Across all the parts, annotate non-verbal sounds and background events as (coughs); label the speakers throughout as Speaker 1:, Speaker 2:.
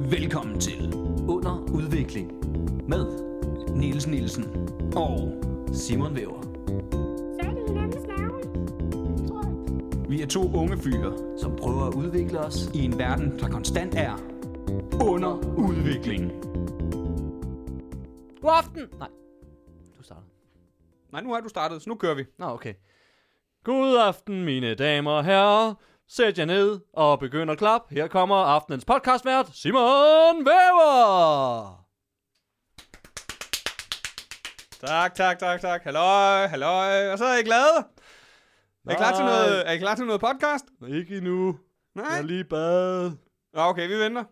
Speaker 1: Velkommen til Under Udvikling med Niels Nielsen og Simon Væver.
Speaker 2: Så er det hinandens navne. Tror jeg.
Speaker 1: Vi er to unge fyre, som prøver at udvikle os i en verden, der konstant er under udvikling.
Speaker 3: God aften! Nej, du starter.
Speaker 1: Nej, nu har du startet, så nu kører vi.
Speaker 3: Nå, okay.
Speaker 4: God aften, mine damer og herrer. Sæt jer ned og begynd at klap. Her kommer aftenens podcastvært, Simon Væver.
Speaker 5: Tak, tak, tak, tak. Halløj, halløj. Og så er I glade? Er I klar til
Speaker 4: Nej.
Speaker 5: noget, er I klar til noget podcast?
Speaker 4: Ikke endnu. Jeg
Speaker 5: Nej?
Speaker 4: er lige i bad.
Speaker 5: Nå, okay, vi venter.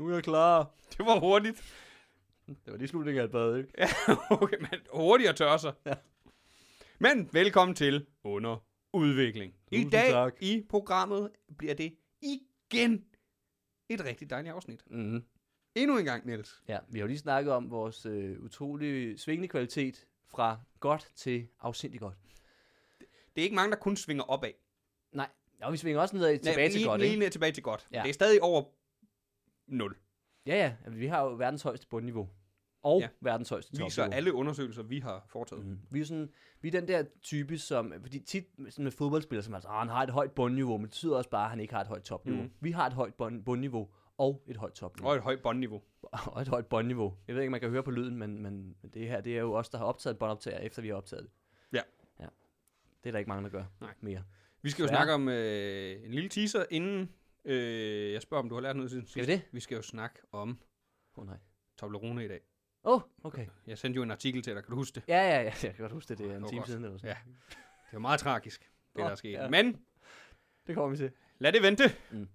Speaker 4: Nu er jeg klar.
Speaker 5: Det var hurtigt. (laughs)
Speaker 4: Det var lige slutningen af et bad, ikke?
Speaker 5: Ja, okay, men hurtigt at tørre sig.
Speaker 4: Ja.
Speaker 5: Men velkommen til Under Udvikling. I
Speaker 4: Tusind
Speaker 5: dag
Speaker 4: tak.
Speaker 5: i programmet bliver det igen et rigtig dejligt afsnit.
Speaker 3: Mm-hmm.
Speaker 5: Endnu en gang, Niels.
Speaker 3: Ja, vi har jo lige snakket om vores øh, utrolig svingende kvalitet fra godt til afsindig godt.
Speaker 5: Det er ikke mange, der kun svinger opad.
Speaker 3: Nej, og vi svinger også nedad tilbage til godt,
Speaker 5: lige
Speaker 3: ikke?
Speaker 5: ned tilbage til godt.
Speaker 3: Ja.
Speaker 5: Ja. Det er stadig over 0.
Speaker 3: Ja, ja, altså, vi har jo verdens højeste bundniveau. Og ja.
Speaker 5: Ja.
Speaker 3: verdens højeste topniveau. Mhm.
Speaker 5: Viser alle undersøgelser, vi har foretaget. Mm.
Speaker 3: Vi er, jo sådan, vi er den der type, som... Fordi tit sådan med fodboldspillere, som er altså, "Ah, han har et højt bundniveau, men det betyder også bare, at han ikke har et højt topniveau. Mm.
Speaker 5: Mhm.
Speaker 3: Vi har et højt bund, bundniveau og et højt topniveau.
Speaker 5: Og et højt båndniveau.
Speaker 3: (laughs) og et højt båndniveau. Jeg ved ikke, om man kan høre på lyden, men, men men det her, det er jo os, der har optaget båndoptager, efter vi har optaget det.
Speaker 5: Ja.
Speaker 3: ja. Det er der ikke mange, der gør
Speaker 5: Nej.
Speaker 3: mere.
Speaker 5: Vi skal jo
Speaker 3: Ja.
Speaker 5: snakke om øh, en lille teaser, inden øh, jeg spørger, om du har lært noget siden
Speaker 3: Skal vi
Speaker 5: sidst.
Speaker 3: det?
Speaker 5: Vi skal jo snakke om
Speaker 3: Åh oh, nej.
Speaker 5: Toblerone i dag.
Speaker 3: Åh, oh, okay.
Speaker 5: Jeg sendte jo en artikel til dig, kan du huske det?
Speaker 3: Ja, ja, ja, jeg kan godt huske det, det er en
Speaker 5: Åh,
Speaker 3: time
Speaker 5: godt.
Speaker 3: siden eller sådan.
Speaker 5: Ja. Det var meget tragisk, det
Speaker 3: Nå,
Speaker 5: der er sket.
Speaker 3: ja.
Speaker 5: Ja. Men
Speaker 3: Det kommer vi til.
Speaker 5: lad det vente.
Speaker 3: Mm.
Speaker 5: Mm.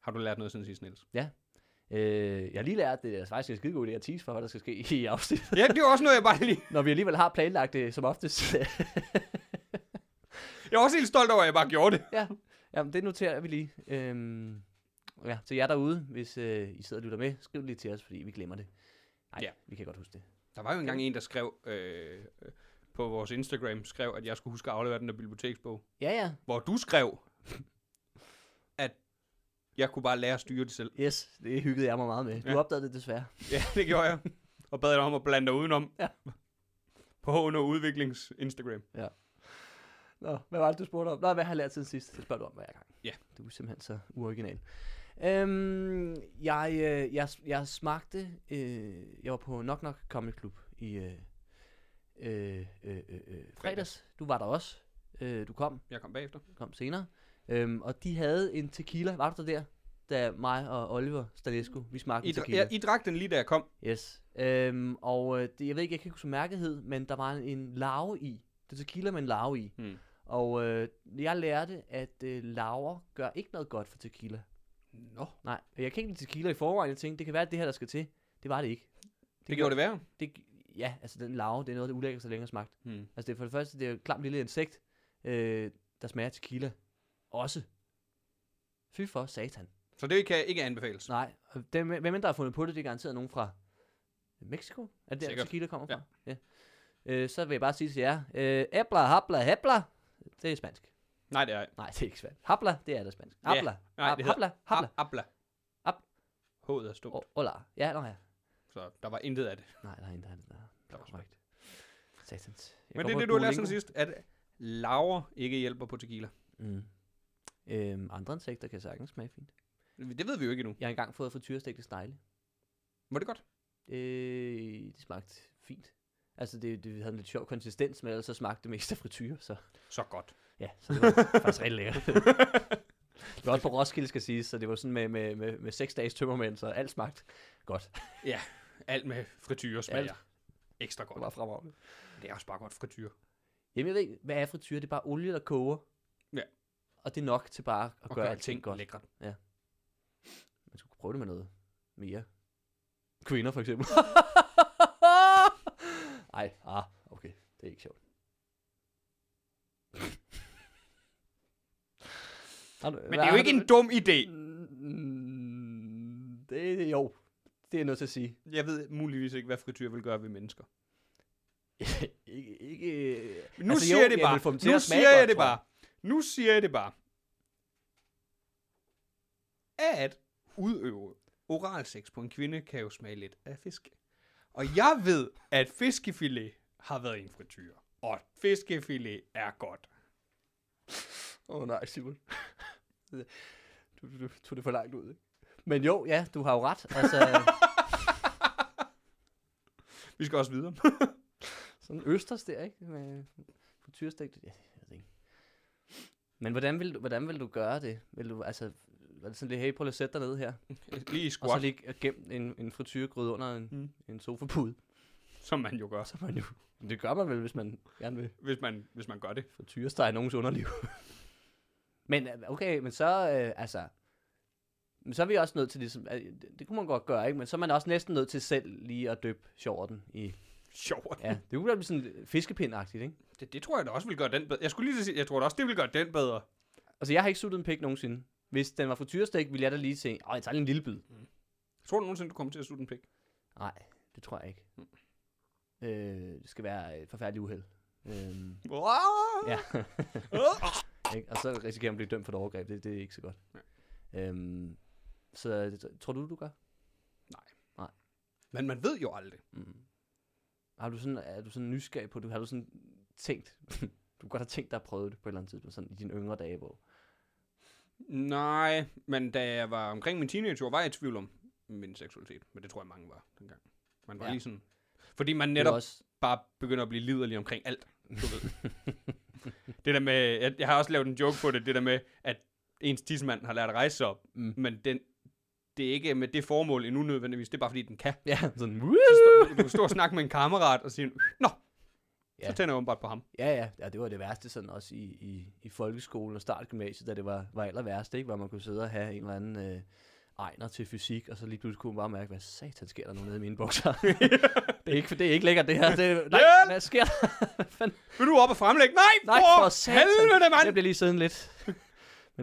Speaker 5: Har du lært noget siden sidst, Niels?
Speaker 3: Øh, jeg har lige lært, det er faktisk en skidegod idé at tease for, hvad der skal ske i afsnittet.
Speaker 5: Ja, det var også noget, jeg bare lige...
Speaker 3: (laughs) Når vi alligevel har planlagt det som oftest. (laughs)
Speaker 5: Jeg var også helt stolt over, at jeg bare gjorde det.
Speaker 3: ja, jamen, det noterer vi lige. Øhm, ja, til jer derude, hvis øh, I sidder og lytter med, skriv det lige til os, fordi vi glemmer det. Nej, ja.
Speaker 5: Ja.
Speaker 3: vi kan godt huske det.
Speaker 5: Der var jo engang en, der skrev øh, øh, på vores Instagram, skrev, at jeg skulle huske at aflevere den der biblioteksbog.
Speaker 3: Ja, ja,
Speaker 5: Hvor du skrev, at jeg kunne bare lære at styre det selv.
Speaker 3: Yes, det hyggede jeg mig meget med. Du ja.
Speaker 5: Ja.
Speaker 3: opdagede det desværre.
Speaker 5: Ja, det gjorde jeg. Og bad dig om at blande dig udenom.
Speaker 3: Ja.
Speaker 5: På under udviklings Instagram.
Speaker 3: Nå, hvad var det, du spurgte om? Nå, hvad har jeg lært siden sidst? Det spørger du om hver gang.
Speaker 5: Ja.
Speaker 3: Du er simpelthen så uoriginal. Øhm, jeg, øh, jeg, jeg smagte... Øh, jeg var på Knock Knock Comedy Club i øh, øh, øh, øh, øh, fredags. Du var der også. Øh, du kom,
Speaker 5: Jeg kom bagefter.
Speaker 3: du kom senere. Øhm, og de havde en tequila. Var du der, der? Da mig og Oliver Stadescu, vi smagte
Speaker 5: I,
Speaker 3: en
Speaker 5: dra-
Speaker 3: tequila.
Speaker 5: jeg, I drak den lige, da jeg kom.
Speaker 3: Yes. Øhm, og øh, det, jeg ved ikke, jeg kan ikke huske mærket hed, men der var en, en larve i. Det er tequila med en larve i.
Speaker 5: Hmm.
Speaker 3: Og øh, jeg lærte, at øh, larver gør ikke noget godt for tequila.
Speaker 5: Nå. Det,
Speaker 3: Nej, og jeg kan ikke lide tequila i forvejen. Jeg tænkte, det kan være, at det her, der skal til. Det var det ikke.
Speaker 5: det gjorde det værre.
Speaker 3: det gi- Ja, altså den larve, det er noget, der ulækkert så længe har smagt.
Speaker 5: Hmm.
Speaker 3: Altså det, er for det første, det er jo et klamt lille insekt, øh, der smager af tequila. Også. Fy for satan.
Speaker 5: Så det kan ikke anbefales.
Speaker 3: Nej, og dem, hvem end der har fundet på det, det er garanteret nogen fra Mexico. Er det der,
Speaker 5: Sikkert.
Speaker 3: tequila kommer
Speaker 5: Ja.
Speaker 3: fra? Ja. Øh, så vil jeg bare sige til jer, øh, æbler, habla, habla, det er spansk.
Speaker 5: Nej, det er jeg.
Speaker 3: Nej, det er ikke spansk. Habla, det er da spansk.
Speaker 5: Ja.
Speaker 3: Habla,
Speaker 5: Nej,
Speaker 3: hab-
Speaker 5: det hedder
Speaker 3: habla, habla,
Speaker 5: Abla.
Speaker 3: Ab-
Speaker 5: Hovedet er stumt,
Speaker 3: O- hola. Ja, nå ja.
Speaker 5: så der var intet af det.
Speaker 3: Nej, der er en, der er en, der er- der
Speaker 5: var
Speaker 3: er korrekt. Satans. Jeg
Speaker 5: Men
Speaker 3: går
Speaker 5: det er
Speaker 3: på
Speaker 5: det, du har lært siden
Speaker 3: Duolingo.
Speaker 5: sidst, at laver ikke hjælper på tequila.
Speaker 3: Mm. Øhm, andre insekter kan sagtens smage fint.
Speaker 5: Det ved vi jo ikke endnu.
Speaker 3: Jeg har engang fået frityrestegte snegle.
Speaker 5: Var det godt?
Speaker 3: Øh, det smagte fint. Altså, det, det havde en lidt sjov konsistens, men ellers så smagte det mest af frityre, så...
Speaker 5: Så godt.
Speaker 3: Ja, så det var faktisk rigtig
Speaker 5: (laughs)
Speaker 3: lækkert. det var også på Roskilde, skal sige, så det var sådan med, med, med, med seks dages tømmermænd, så alt smagte godt.
Speaker 5: Alt med frityre smager ekstra
Speaker 3: Det
Speaker 5: godt.
Speaker 3: var fremragende.
Speaker 5: Det er også bare godt frityre.
Speaker 3: Jamen, jeg ved ikke, hvad er frityre? Det er bare olie, der koger.
Speaker 5: Ja.
Speaker 3: Og det er nok til bare at
Speaker 5: Og
Speaker 3: gøre
Speaker 5: gør
Speaker 3: alting
Speaker 5: ting
Speaker 3: godt.
Speaker 5: lækre.
Speaker 3: Man skulle kunne prøve det med noget mere. Kvinder, for
Speaker 5: (laughs)
Speaker 3: eksempel. Ej, ah, okay. Det er ikke sjovt. Har du-
Speaker 5: Men
Speaker 3: hvad
Speaker 5: det er
Speaker 3: har
Speaker 5: jo ikke
Speaker 3: du-
Speaker 5: en dum idé.
Speaker 3: Mm, Det er jo. Det er noget til at
Speaker 5: (laughs)
Speaker 3: sige.
Speaker 5: Jeg ved muligvis ikke, hvad frityre vil gøre ved mennesker.
Speaker 3: ikke, ikke,
Speaker 5: Men Nu altså, siger jo, jeg det bare. nu siger jeg det bare. Nu siger jeg det bare. At udøve oral sex på en kvinde, kan jo smage lidt af fisk. Og jeg ved, at fiskefilet har været en frityr. Og fiskefilet er godt.
Speaker 3: Åh oh, nej, Simon. (laughs) Du, du, du tog det for langt ud, ikke? Men jo, ja, du har jo ret.
Speaker 5: (laughs)
Speaker 3: Altså,
Speaker 5: Vi skal også videre.
Speaker 3: sådan østers der, ikke? Med frityrestegt. Ja, jeg ved ikke. Men hvordan vil, du, hvordan vil du gøre det? Vil du, altså, var det sådan lidt, hey, prøv lige at sætte dig ned her.
Speaker 5: (laughs) Lige i
Speaker 3: Og så
Speaker 5: squat, lige...
Speaker 3: lige gem en, en frityrgryde under en,
Speaker 5: Mm.
Speaker 3: mm. en sofapude.
Speaker 5: som man jo gør,
Speaker 3: Så man jo, det gør man vel, hvis man gerne vil
Speaker 5: hvis man, hvis man gør det.
Speaker 3: frityrestege nogens underliv. (laughs) men øh, okay, men så, øh, altså, men så er vi også nødt til ligesom, øh, det, det kunne man godt gøre, ikke? Men så er man også næsten nødt til selv lige at døbe sjorten i,
Speaker 5: Sjovt.
Speaker 3: ja, det kunne da blive sådan fiskepindagtigt, ikke?
Speaker 5: (laughs) Det, det, tror jeg da også vil gøre den bedre. Jeg skulle lige til at sige, jeg tror da også, det vil gøre den bedre.
Speaker 3: Altså, jeg har ikke suttet en pik nogensinde. Hvis den var frityrestegt, ville jeg da lige se, åh, jeg tager lige en lille bid.
Speaker 5: Tror du nogensinde, du kommer til at sutte en pik?
Speaker 3: Nej, det tror jeg ikke. Øh, det skal være et forfærdeligt uheld. Øhm, ja. (laughs) Ikke? Og så risikerer man at blive dømt for et overgreb. Det, det er ikke så godt. Øhm, så det- tror du, du gør?
Speaker 5: (laughs) Men man ved jo aldrig.
Speaker 3: Mm. Har du sådan, er du sådan nysgerrig på det? Har du sådan tænkt, (laughs) du kunne godt har tænkt dig at prøve det på et eller andet tidspunkt, sådan i dine yngre dage, hvor...
Speaker 5: Nej, men da jeg var omkring min teenageår, var jeg i tvivl om min seksualitet. Men det tror jeg, mange var dengang. Man var ja.
Speaker 3: Ja.
Speaker 5: lige sådan... Fordi man
Speaker 3: Det er jo
Speaker 5: netop
Speaker 3: også,
Speaker 5: bare begynder at blive liderlig omkring alt. Du
Speaker 3: (laughs)
Speaker 5: ved. det der med... Jeg, jeg har også lavet en joke på det, det der med, at ens tidsmand har lært at rejse sig op.
Speaker 3: Mm.
Speaker 5: Men den, det er ikke med det formål endnu nødvendigvis. Det er bare, fordi den kan.
Speaker 3: ja,
Speaker 5: (laughs)
Speaker 3: sådan...
Speaker 5: Så
Speaker 3: Woo!
Speaker 5: står- Du kan stå og snakke med en kammerat og sige, Nå, så
Speaker 3: Ja.
Speaker 5: tænder jeg åbenbart på ham.
Speaker 3: Ja, ja, ja, det var det værste sådan også i, i, i folkeskolen og startgymnasiet, da det var, var aller værst, ikke? Hvor man kunne sidde og have en eller anden øh, ejner til fysik, og så lige pludselig kunne man bare mærke, hvad satan sker der nu nede i mine
Speaker 5: (laughs)
Speaker 3: bukser? det, er ikke, det er ikke lækkert, det her. Det, nej,
Speaker 5: Hjælp!
Speaker 3: hvad sker der? Hvad fanden?
Speaker 5: Vil du op og fremlægge? Nej,
Speaker 3: Nej, for
Speaker 5: for
Speaker 3: satan.
Speaker 5: helvede,
Speaker 3: Jeg
Speaker 5: mand!
Speaker 3: bliver lige siden lidt med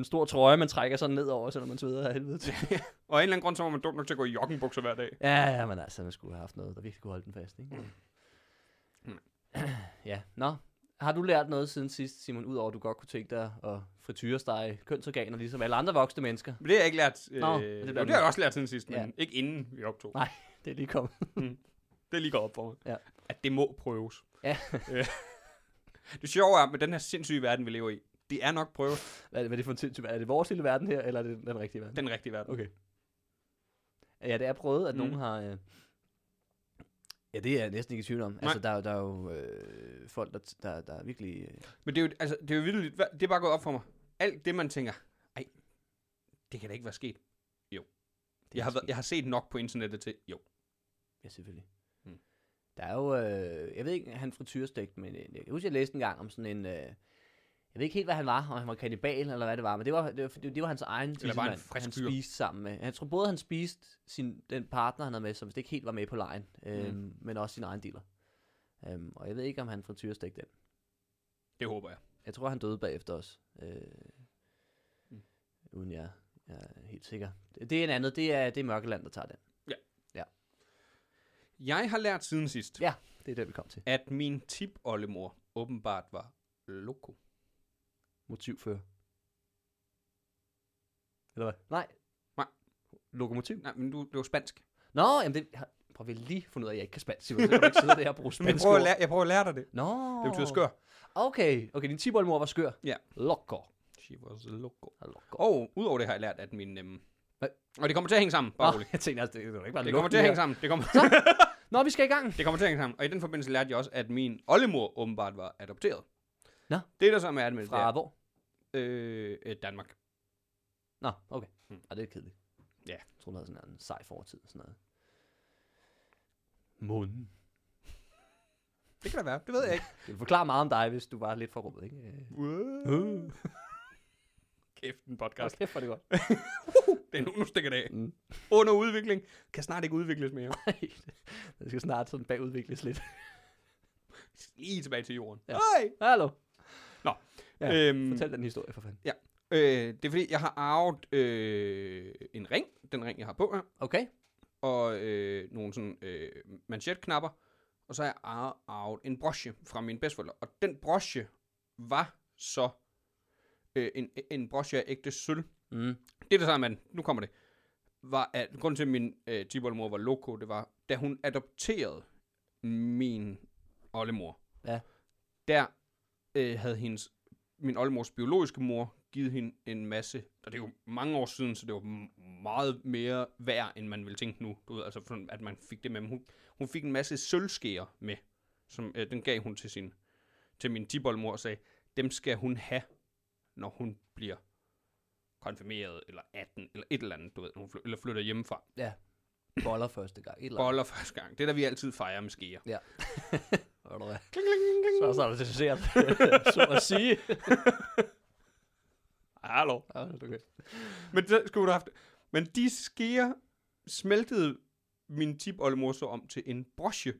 Speaker 3: en stor trøje, man trækker sådan ned over, selvom man sveder af helvede til.
Speaker 5: Og af en eller anden grund, så var man dum nok til at gå i joggenbukser hver dag.
Speaker 3: Ja, ja, men altså, man skulle have haft noget, der virkelig kunne holde den fast, ikke?
Speaker 5: Mm.
Speaker 3: ja, nå. Har du lært noget siden sidst, Simon, udover at du godt kunne tænke dig at frityrestege kønsorganer, ligesom alle andre voksne mennesker?
Speaker 5: Men det har jeg ikke lært. Øh,
Speaker 3: Nå,
Speaker 5: Nå,
Speaker 3: det
Speaker 5: det, jo,
Speaker 3: bliver
Speaker 5: det har
Speaker 3: den.
Speaker 5: jeg også lært siden sidst, men
Speaker 3: Ja.
Speaker 5: ikke inden vi optog.
Speaker 3: Nej. Det er lige kommet.
Speaker 5: Det er lige gået op for mig.
Speaker 3: Ja.
Speaker 5: At det må prøves.
Speaker 3: Ja.
Speaker 5: Øh, (laughs) det sjove er, at med den her sindssyge verden, vi lever i, det er nok prøvet
Speaker 3: Hvad, hvad er det for en sindssyg verden? Er det vores lille verden her, eller er det den, den rigtige verden?
Speaker 5: den rigtige verden.
Speaker 3: Okay. Ja, det er prøvet, at
Speaker 5: Mm.
Speaker 3: mm. nogen har... Øh... Ja, det er jeg næsten ikke i tvivl om. Nej. Altså, der, er jo- der er jo øh, folk, der, der, der er virkelig... Øh...
Speaker 5: Men det er jo, altså, det er jo vildt, hva- det er bare gået op for mig. Alt det, man tænker, ej, det kan da ikke være sket.
Speaker 3: det
Speaker 5: Jeg har,
Speaker 3: er
Speaker 5: været, jeg har set nok på internettet til, jo,
Speaker 3: Ja, selvfølgelig.
Speaker 5: Mm.
Speaker 3: Mm. Der er jo, øh, jeg ved ikke, han frityrestegt, men øh, jeg kan huske, jeg læste en gang om sådan en, øh, jeg ved ikke helt, hvad han var, om han var kannibal eller hvad det var, men det var, det var, det var hans egen
Speaker 5: bare en
Speaker 3: tissemand,
Speaker 5: frisk
Speaker 3: han
Speaker 5: fyr.
Speaker 3: spiste sammen med. Jeg tror både, han spiste sin, den partner, han havde med, som vist ikke helt var med på lejen, øh, mm. men også sin egen dealer. Øhm, og jeg ved ikke, om han frityrestegte den.
Speaker 5: det håber jeg.
Speaker 3: Jeg tror, han døde bagefter os. Øh,
Speaker 5: Mm.
Speaker 3: mm. Uden jeg, jeg er helt sikker. Det, det er en andet, det er, det er Mørkeland, der tager den.
Speaker 5: Jeg har lært siden sidst,
Speaker 3: Ja. Det er det, vi kom til.
Speaker 5: at min tip-oldemor åbenbart var loko.
Speaker 3: Motivfører. Eller hvad? Nej.
Speaker 5: Nej.
Speaker 3: Lokomotiv.
Speaker 5: Nej, men du, det var spansk.
Speaker 3: Nå, jamen det... har- Prøv at lige finde ud af, at jeg ikke kan spansk, Simon. Så kan du ikke sidde
Speaker 5: (laughs)
Speaker 3: der og bruge
Speaker 5: Men jeg
Speaker 3: spansk
Speaker 5: prøver,
Speaker 3: ord.
Speaker 5: at lære, jeg prøver at lære dig det.
Speaker 3: Nå.
Speaker 5: Det betyder skør.
Speaker 3: Okay, okay, din tiboldmor var skør.
Speaker 5: Ja.
Speaker 3: Lokker.
Speaker 5: She was loco.
Speaker 3: Lokker.
Speaker 5: Og udover det har jeg lært, at min... Øhm,
Speaker 3: Hvad?
Speaker 5: og det kommer til at hænge sammen, bare roligt.
Speaker 3: jeg tænkte altså, det, det var ikke bare
Speaker 5: Det kommer til at hænge sammen. Det kommer, (laughs)
Speaker 3: sammen. Nå, vi skal i gang.
Speaker 5: det kommer til at hænge sammen. Og i den forbindelse lærte jeg også, at min oldemor åbenbart var adopteret.
Speaker 3: Nå.
Speaker 5: Det der så er med det
Speaker 3: Fra
Speaker 5: der,
Speaker 3: hvor?
Speaker 5: øh, øh, Danmark.
Speaker 3: Nå, okay.
Speaker 5: Mm.
Speaker 3: Og det er kedeligt.
Speaker 5: Ja.
Speaker 3: Jeg tror, hun havde sådan en sej fortid og sådan noget. Munden.
Speaker 5: Det kan da være. Det ved jeg
Speaker 3: (laughs)
Speaker 5: ikke.
Speaker 3: Det vil forklare meget om dig, hvis du var lidt for rummet, ikke? Øh,
Speaker 5: Wow. Kæft, en podcast.
Speaker 3: Kæft, hvor er det godt.
Speaker 5: Det er nu, nu stikker det af.
Speaker 3: Mm.
Speaker 5: Under udvikling. Kan snart ikke udvikles mere. (laughs)
Speaker 3: Nej, det skal snart sådan bagudvikles lidt.
Speaker 5: Lige tilbage til jorden.
Speaker 3: Ja.
Speaker 5: Nej.
Speaker 3: Hallo.
Speaker 5: Ja.
Speaker 3: Ja,
Speaker 5: Øhm,
Speaker 3: Fortæl den historie for fanden.
Speaker 5: øh, det er fordi, jeg har arvet øh, en ring. Den ring, jeg har på her.
Speaker 3: Okay.
Speaker 5: og øh, nogle sådan øh, manchetknapper, og så har jeg arvet- arvet en brosje fra mine bedsteforældre. Og den brosje var så øh, en, en brosje af ægte sølv.
Speaker 3: Mm.
Speaker 5: Det er det samme, man. Nu kommer det. var, at grunden til, at min øh, tibolmor var loko, det var, da hun adopterede min oldemor,
Speaker 3: Ja.
Speaker 5: der øh, havde hendes, min oldemors biologiske mor givet hende en masse, og det er jo mange år siden, så det var m- meget mere værd, end man ville tænke nu, du ved, altså sådan, at man fik det med, men hun, hun fik en masse sølvskeer med, som øh, den gav hun til sin, til min tibolmor og sagde, dem skal hun have, når hun bliver konfirmeret, eller 18, eller et eller andet, du ved, når hun fly- eller flytter hjemmefra.
Speaker 3: Ja. Boller første gang. Et eller andet.
Speaker 5: Boller første gang. Det er der, vi altid fejrer med skeer.
Speaker 3: Ja. Ved du hvad?
Speaker 4: Så, så er det
Speaker 3: (laughs)
Speaker 4: dessert. så at sige.
Speaker 5: Hallo.
Speaker 3: Ja, det er okay.
Speaker 5: Men så skulle du have haft... Men de skeer smeltede min tip oldemor så om til en brosje,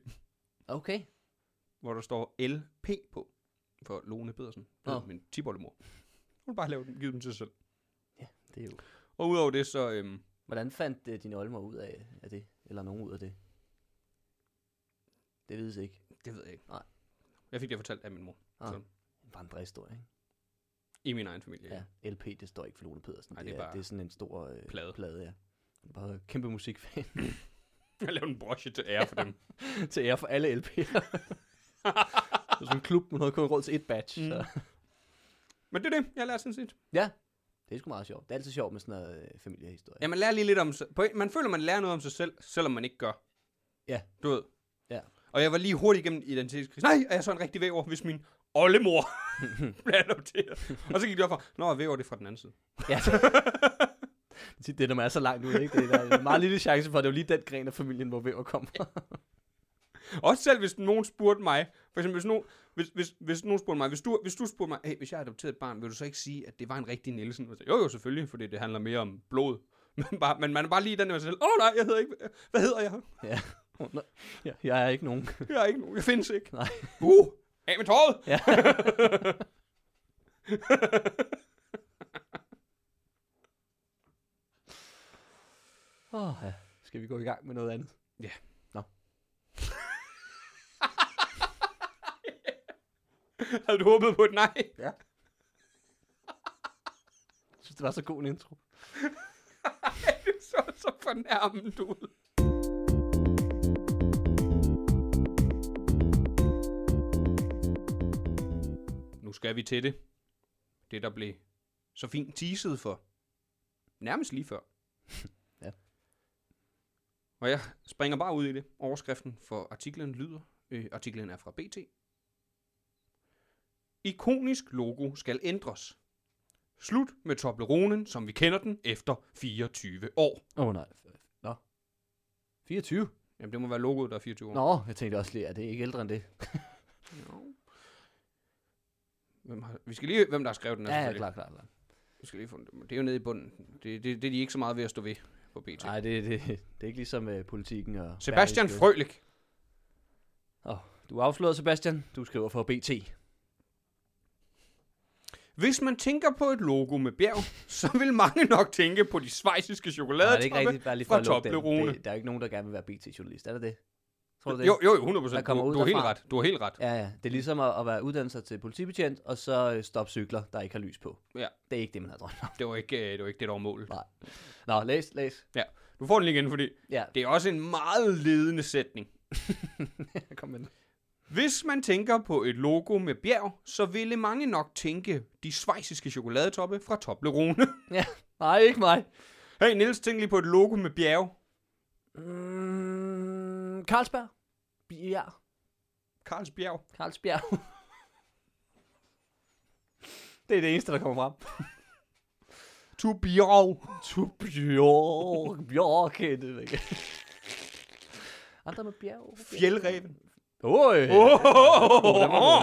Speaker 3: Okay.
Speaker 5: hvor der står LP på, for Lone Pedersen. Det
Speaker 3: Nå.
Speaker 5: oh. min tip oldemor. Hun bare lavet dem, givet dem til sig selv.
Speaker 3: Det er jo...
Speaker 5: Og udover det, så... Øhm,
Speaker 3: Hvordan fandt uh, din olmer ud af, af det? Eller nogen ud af det? Det vides ikke.
Speaker 5: det ved jeg ikke.
Speaker 3: Nej.
Speaker 5: Jeg fik det fortalt af min mor.
Speaker 3: Ah.
Speaker 5: Sådan.
Speaker 3: Bare en drejhistorie, ikke?
Speaker 5: I min egen familie.
Speaker 3: Ja. LP, det står ikke for Lone Pedersen.
Speaker 5: Nej,
Speaker 3: det, er, bare... det er sådan en stor øh,
Speaker 5: plade.
Speaker 3: plade, ja. Han er Bare kæmpe musikfan (laughs)
Speaker 5: Jeg lavede en brosje til ære for (laughs) dem.
Speaker 3: til ære for alle (laughs) LP'er. det er sådan en klub, man havde kun råd til et batch. Mm. Så.
Speaker 5: Men det er det, jeg lærer sådan set.
Speaker 3: Ja, det er sgu meget sjovt. Det er altid sjovt med sådan noget øh, familiehistorie.
Speaker 5: Ja, man lærer lige lidt om... sig- På, en- man føler, man lærer noget om sig selv, selvom man ikke gør.
Speaker 3: Ja.
Speaker 5: Du ved.
Speaker 3: Ja.
Speaker 5: Og jeg var lige hurtigt igennem identitetskrisen. Nej, er jeg så en rigtig væver, hvis min
Speaker 3: (laughs)
Speaker 5: oldemor blev adopteret? og så gik det op for, nå, væver det er fra den anden side.
Speaker 3: Ja. Det er (laughs) tit det, når man er så langt ude, ikke? Det er, der er en meget lille chance for, at det er jo lige den gren af familien, hvor væver kommer fra.
Speaker 5: Også selv hvis nogen spurgte mig, for eksempel hvis nogen, hvis, hvis, hvis nogen spurgte mig, hvis du, hvis du spurgte mig, hey, hvis jeg adopterede et barn, vil du så ikke sige, at det var en rigtig Nielsen? Og jeg sagde, jo, jo, selvfølgelig, fordi det handler mere om blod. (laughs) Men, bare, men man er bare lige i den der med sig selv, åh oh, nej, jeg hedder ikke, hvad hedder jeg?
Speaker 3: (laughs) Ja. Oh, nej. ja. Jeg er ikke nogen.
Speaker 5: Jeg er ikke nogen, jeg findes ikke.
Speaker 3: Nej.
Speaker 5: Uh, af med tøjet!
Speaker 3: (laughs) Ja. oh, ja. Skal vi gå i gang med noget andet?
Speaker 5: Ja.
Speaker 3: Nå.
Speaker 5: (laughs) Havde du håbet på et nej?
Speaker 3: Ja. Jeg synes, det var så god en intro.
Speaker 5: Det så så fornærmende ud. Nu skal vi til det. Det, der blev så fint teaset for. Nærmest lige (laughs) før.
Speaker 3: Ja.
Speaker 5: Og jeg springer bare ud i det. Overskriften for artiklen lyder, øh, artiklen er fra BT. Ikonisk logo skal ændres. Slut med Tobleronen, som vi kender den, efter 24 år.
Speaker 3: Åh oh, nej. Nå. 24?
Speaker 5: Jamen, det må være logoet, der er 24 år.
Speaker 3: Nå, jeg tænkte også lige, at det er ikke ældre end det.
Speaker 5: Jo. Hvem har, vi skal lige hvem der har skrevet den. her,
Speaker 3: Ja, ja,
Speaker 5: selvfølgelig.
Speaker 3: klar, klar, klar.
Speaker 5: Vi skal lige få den. Det er jo nede i bunden. Det, det, det er de ikke så meget ved at stå ved på BT. Nej.
Speaker 3: Nej, det, det, det er ikke ligesom øh, politikken og...
Speaker 5: Sebastian
Speaker 3: Berlingske.
Speaker 5: Frølik.
Speaker 3: Du er afsløret, Sebastian. Du skriver for BT.
Speaker 5: Hvis man tænker på et logo med bjerg, (laughs) så vil mange nok tænke på de svejsiske
Speaker 3: Nej, det er ikke
Speaker 5: chokoladetoppe.
Speaker 3: rigtigt, bare lige for at
Speaker 5: fra
Speaker 3: lukke den.
Speaker 5: Toblerone.
Speaker 3: Det, der er jo ikke nogen, der gerne vil være BT-journalist. Er der det? Tror du det?
Speaker 5: Jo, jo, jo, 100 procent.
Speaker 3: Der kommer
Speaker 5: Du,
Speaker 3: ud
Speaker 5: du har helt
Speaker 3: derfra.
Speaker 5: ret. Du har helt ret.
Speaker 3: Ja, ja. Det er ligesom at, at være uddannet sig til politibetjent, og så øh, stoppe cykler, der ikke har lys på.
Speaker 5: Ja.
Speaker 3: Det er ikke det, man har drømt om.
Speaker 5: Det var ikke øh, det, var ikke det der var målet.
Speaker 3: Nej. Nå, læs, læs.
Speaker 5: Ja. Du får den lige igen, fordi (laughs)
Speaker 3: Ja,
Speaker 5: det er også en meget ledende sætning.
Speaker 3: kom med den.
Speaker 5: Hvis man tænker på et logo med bjerg, så ville mange nok tænke de svejsiske chokoladetoppe fra Toblerone.
Speaker 3: Ja. Nej, ikke mig.
Speaker 5: (laughs) Hey Niels, tænk lige på et logo med bjerge.
Speaker 3: Mm, Carlsberg. Bjerg.
Speaker 5: Karlsbjerg.
Speaker 3: Carlsbjerg. (laughs) det er det eneste, der kommer frem.
Speaker 5: To bjerg.
Speaker 3: To bjørk, bjørk, er det ikke? Andre med bjerg.
Speaker 5: (laughs) Fjeldreven.
Speaker 3: Oj!
Speaker 5: Oh,
Speaker 3: den var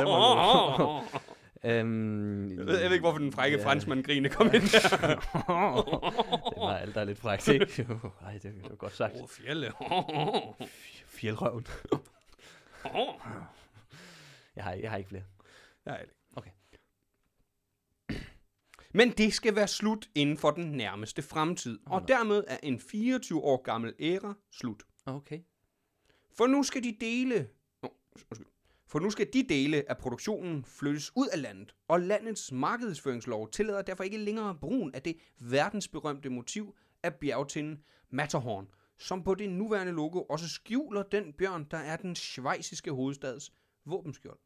Speaker 3: god, den var Øhm,
Speaker 5: Jeg ved jeg ved ikke, hvorfor den frække
Speaker 3: ja,
Speaker 5: yeah. franskmand grine kom ind (laughs) der.
Speaker 3: Det var alt, der er lidt frækt, ikke? Jo, Ej, det var godt sagt.
Speaker 5: Åh, fjelle.
Speaker 3: Fj- Fjeldrøven. Jeg har, jeg har ikke flere.
Speaker 5: Nej, det er ikke.
Speaker 3: Okay.
Speaker 5: Men det skal være slut inden for den nærmeste fremtid, og dermed er en 24 år gammel æra slut.
Speaker 3: Okay.
Speaker 5: For nu skal de dele... Nå, undskyld. For nu skal de dele af produktionen flyttes ud af landet, og landets markedsføringslov tillader derfor ikke længere brugen af det verdensberømte motiv af bjergtinden Matterhorn, som på det nuværende logo også skjuler den bjørn, der er den schweiziske hovedstads våbenskjold.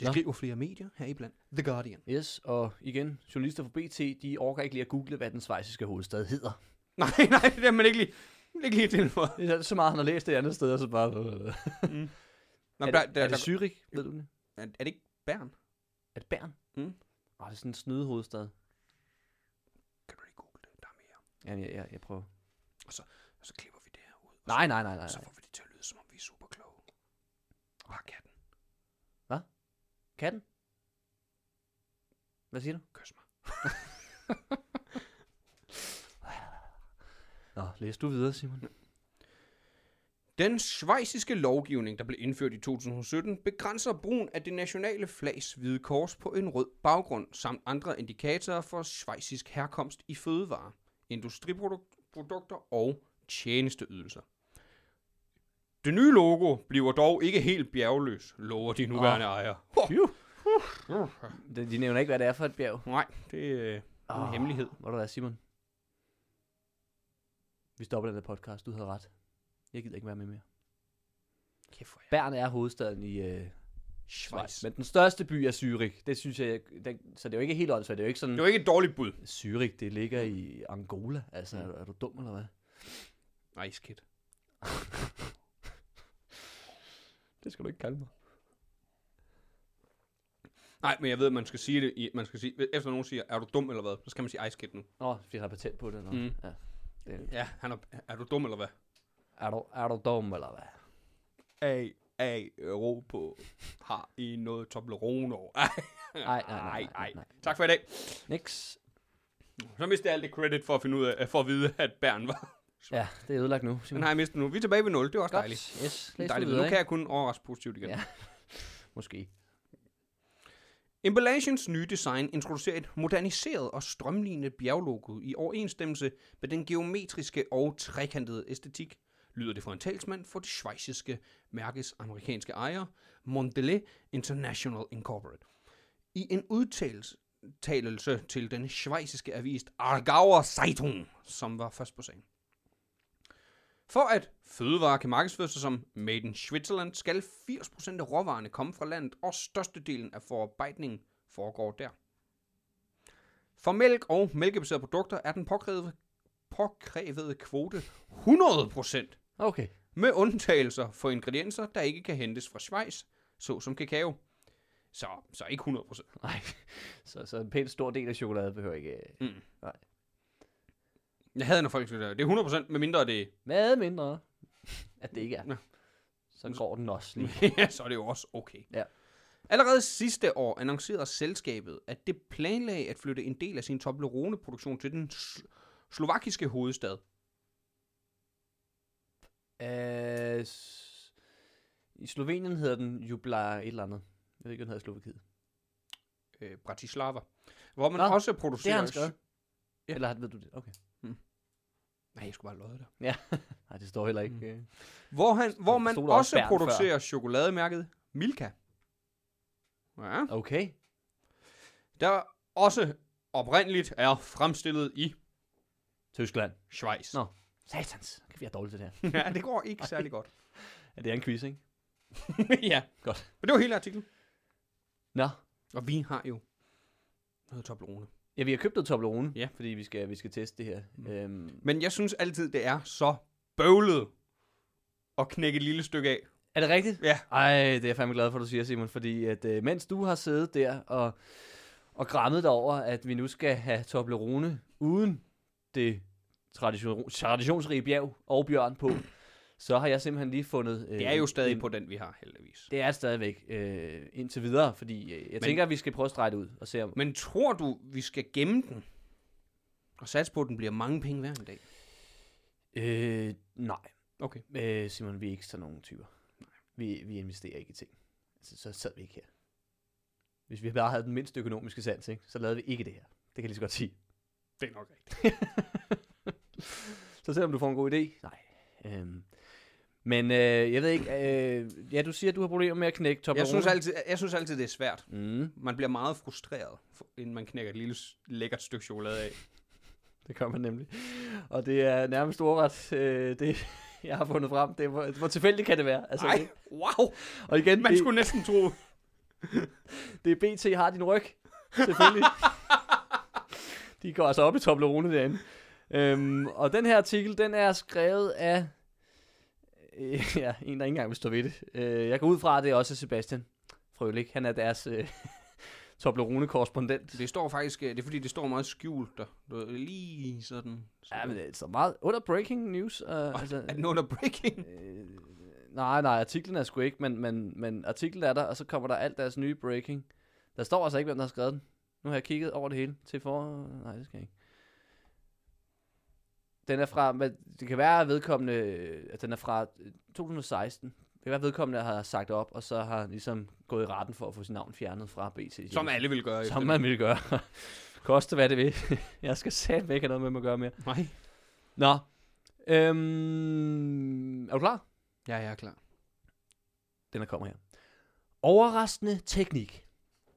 Speaker 5: Det
Speaker 3: Nå.
Speaker 5: skriver flere medier heriblandt. The Guardian.
Speaker 3: Yes, og igen, journalister fra BT, de orker ikke lige at google, hvad den svejsiske hovedstad
Speaker 5: (laughs)
Speaker 3: hedder.
Speaker 5: Nej, nej, det er man ikke lige, ikke lige til for.
Speaker 3: Det er så meget, han har læst det andet sted, og så bare... Er
Speaker 5: Nå,
Speaker 3: det,
Speaker 5: der, der,
Speaker 3: er
Speaker 5: der,
Speaker 3: det
Speaker 5: der,
Speaker 3: Zürich, ved du det?
Speaker 5: er det ikke Bern?
Speaker 3: Er det Bern?
Speaker 5: Mm.
Speaker 3: Åh, det er sådan en snydehovedstad.
Speaker 5: Kan du lige google det? Der er mere.
Speaker 3: Ja, jeg, jeg, jeg prøver.
Speaker 5: Og så klipper vi det her ud. Og
Speaker 3: Nej, nej, nej, nej.
Speaker 5: Så
Speaker 3: nej.
Speaker 5: får vi det til at lyde, som om vi er super kloge. Bare katten.
Speaker 3: Katten? Hvad siger du?
Speaker 5: Kys mig.
Speaker 3: (laughs) Nå, læs du videre, Simon.
Speaker 5: Den schweiziske lovgivning, der blev indført i 2017, begrænser brugen af det nationale flags hvide kors på en rød baggrund, samt andre indikatorer for schweizisk herkomst i fødevarer, industriprodukter og tjenesteydelser. Det nye logo bliver dog ikke helt bjergløs, lover de nuværende oh. ejere.
Speaker 3: De, de nævner ikke, hvad det er for et bjerg.
Speaker 5: Nej, det er øh, en
Speaker 3: Åh,
Speaker 5: hemmelighed.
Speaker 3: Må du være, Simon? Vi stopper den her podcast. Du havde ret. Jeg gider ikke være med mere.
Speaker 5: Kæft, hvor er
Speaker 3: Bern er hovedstaden i øh,
Speaker 5: jeg-
Speaker 3: Schweiz.
Speaker 5: Schweiz.
Speaker 3: Men den største by er Zürich. Det synes jeg... jeg den, så det er jo ikke helt åndssvagt. Det er jo Mm. ikke sådan...
Speaker 5: Det var ikke et dårligt bud.
Speaker 3: Zürich, det ligger i Angola. Altså, er, er du dum eller hvad?
Speaker 5: Nej, skidt.
Speaker 3: (laughs) Det skal du ikke kalde mig.
Speaker 5: Nej, men jeg ved, at man skal sige det. I, man skal sige, efter nogen siger, er du dum eller hvad? Så skal man sige, ej, skidt nu.
Speaker 3: Nå, fordi han har patent på det. Nå.
Speaker 5: Mm.
Speaker 3: Ja. Det,
Speaker 5: Ja, han er, er du dum eller hvad?
Speaker 3: er, du, er du dum eller hvad?
Speaker 5: Ej, ej, ro på. Har I noget Toblerone over? Ej,
Speaker 3: Ej, (laughs) nej, nej, nej, nej, nej.
Speaker 5: Tak for i dag.
Speaker 3: Nix.
Speaker 5: Så mistede jeg alt det credit for at, finde ud af, for at vide, at Bern var.
Speaker 3: Ja, det er ødelagt nu. Simon.
Speaker 5: Den har jeg mistet nu. Vi er tilbage ved 0. Det er også
Speaker 3: Mm. Godt.
Speaker 5: dejligt.
Speaker 3: Yes, læs
Speaker 5: dejligt.
Speaker 3: det videre,
Speaker 5: nu kan
Speaker 3: ikke?
Speaker 5: jeg kun overraske positivt igen.
Speaker 3: Ja. Måske.
Speaker 5: Emballagens nye design introducerer et moderniseret og strømlignet bjerglogo i overensstemmelse med den geometriske og trekantede æstetik, lyder det fra en talsmand for det schweiziske mærkes amerikanske ejer, Mondelez International Incorporated. I en udtalelse talelse til den schweiziske avis Aargauer Zeitung, som var først på sagen. For at fødevarer kan markedsføre sig som Made in Switzerland, skal 80% af råvarerne komme fra landet, og størstedelen af forarbejdningen foregår der. For mælk og mælkebaserede produkter er den påkrævede, påkrævede kvote 100%,
Speaker 3: Okay.
Speaker 5: med undtagelser for ingredienser, der ikke kan hentes fra Schweiz, såsom kakao. Så, så ikke 100%.
Speaker 3: Nej. Så, så en pænt stor del af chokolade behøver ikke... øh,
Speaker 5: Mm.
Speaker 3: Nej.
Speaker 5: Jeg hader, når folk siger, det er 100%, medmindre det
Speaker 3: Hvad mindre, at det ikke er.
Speaker 5: Nå.
Speaker 3: Så går den også lige.
Speaker 5: (laughs) ja, så er det jo også okay.
Speaker 3: Ja.
Speaker 5: Allerede sidste år annoncerede selskabet, at det planlagde at flytte en del af sin Toblerone-produktion til den sl- slovakiske hovedstad.
Speaker 3: Øh, s- I Slovenien hedder den Jubla et eller andet. Jeg ved ikke, hvad den hedder i Slovakiet.
Speaker 5: Øh, Bratislava. Hvor man
Speaker 3: Nå,
Speaker 5: også
Speaker 3: Det
Speaker 5: producerer...
Speaker 3: har han skrevet.
Speaker 5: Ja.
Speaker 3: Eller ved du det? Okay.
Speaker 5: Nej, jeg skulle bare løje der.
Speaker 3: Nej, det står heller ikke.
Speaker 5: Mm.
Speaker 3: Mm.
Speaker 5: Hvor, han, hvor man
Speaker 3: stod der også
Speaker 5: også
Speaker 3: Bern før.
Speaker 5: producerer chokolademærket Milka. Ja.
Speaker 3: Okay.
Speaker 5: Der også oprindeligt er fremstillet i
Speaker 3: Tyskland.
Speaker 5: Schweiz.
Speaker 3: Nå. Satans. Kan vi have dårligt til det her?
Speaker 5: (laughs) ja, det går ikke særlig godt.
Speaker 3: Ja, det er en quiz, ikke?
Speaker 5: (laughs) ja.
Speaker 3: Godt.
Speaker 5: Men det var hele artiklen.
Speaker 3: Nå.
Speaker 5: Og vi har jo noget Toblerone.
Speaker 3: Ja, vi har købt noget Toblerone,
Speaker 5: Ja.
Speaker 3: fordi vi skal, vi skal teste det her. Mm. Øhm,
Speaker 5: Men jeg synes altid, det er så bøvlet at knække et lille stykke af.
Speaker 3: er det rigtigt?
Speaker 5: Ja.
Speaker 3: Ej, det er jeg fandme glad for, du siger, Simon, fordi at, øh, mens du har siddet der og, og græmmet dig over, at vi nu skal have Toblerone uden det tradition, traditionsrige bjerg og bjørn på, så har jeg simpelthen lige fundet... Øh,
Speaker 5: Det er jo stadig
Speaker 3: en-
Speaker 5: på den, vi har heldigvis.
Speaker 3: Det er stadigvæk øh, indtil videre, fordi øh, jeg Men... tænker, at vi skal prøve at strege det ud og se om...
Speaker 5: Men tror du, vi skal gemme den? Og satse på, at den bliver mange penge værd en dag?
Speaker 3: Øh, nej.
Speaker 5: Okay.
Speaker 3: Øh, Simon, vi er ikke sådan nogle typer. Vi, vi investerer ikke i ting. Altså, så sad vi ikke her. Hvis vi bare havde den mindste økonomiske sans, ikke, så lavede vi ikke det her. Det kan jeg lige så godt sige.
Speaker 5: Det er nok rigtigt.
Speaker 3: (laughs) Så selvom du får en god idé, nej. Øhm, men øh, jeg ved ikke, øh, ja, du siger, at du har problemer med at knække top
Speaker 5: Jeg synes, altid, jeg synes altid, det er svært.
Speaker 3: Mm.
Speaker 5: Man bliver meget frustreret, for- inden man knækker et lille s- lækkert stykke chokolade af.
Speaker 3: Det gør man nemlig. Og det er nærmest ordret, øh, det jeg har fundet frem. Det er, hvor, hvor tilfældigt kan det være? Altså,
Speaker 5: Nej,
Speaker 3: det-
Speaker 5: wow.
Speaker 3: Og igen,
Speaker 5: Man
Speaker 3: det,
Speaker 5: skulle næsten tro...
Speaker 3: det er BT har din ryg. Selvfølgelig. De går altså op i Toblerone derinde. Øhm, og den her artikel, den er skrevet af øh, ja, en, der ikke engang vil stå ved det. Øh, jeg går ud fra, at det er også Sebastian Frølik. Han er deres øh, Toblerone-korrespondent.
Speaker 5: Det står faktisk... øh, Det er fordi, det står meget skjult der. Du ved, Lige sådan. Så.
Speaker 3: Ja, men det er så meget under breaking news. Øh, altså,
Speaker 5: Er den under breaking?
Speaker 3: Øh, nej, nej, artiklen er sgu ikke, men, men, men artiklen er der, og så kommer der alt deres nye breaking. Der står altså ikke, hvem der har skrevet den. Nu har jeg kigget over det hele til for... Nej, det skal jeg ikke. Den er fra... Men det kan være, at vedkommende... At den er fra øh, 2016. Det kan være, at vedkommende har sagt op, og så har ligesom gået i retten for at få sit navn fjernet fra BT.
Speaker 5: Som alle vil gøre. efter
Speaker 3: Som
Speaker 5: det.
Speaker 3: man ville gøre. (laughs) Koste hvad det vil. (laughs) jeg skal satme ikke have noget med mig at gøre mere.
Speaker 5: Nej.
Speaker 3: Nå. Øhm, er du klar?
Speaker 5: Ja, jeg er klar.
Speaker 3: Den der kommer her. Overraskende teknik.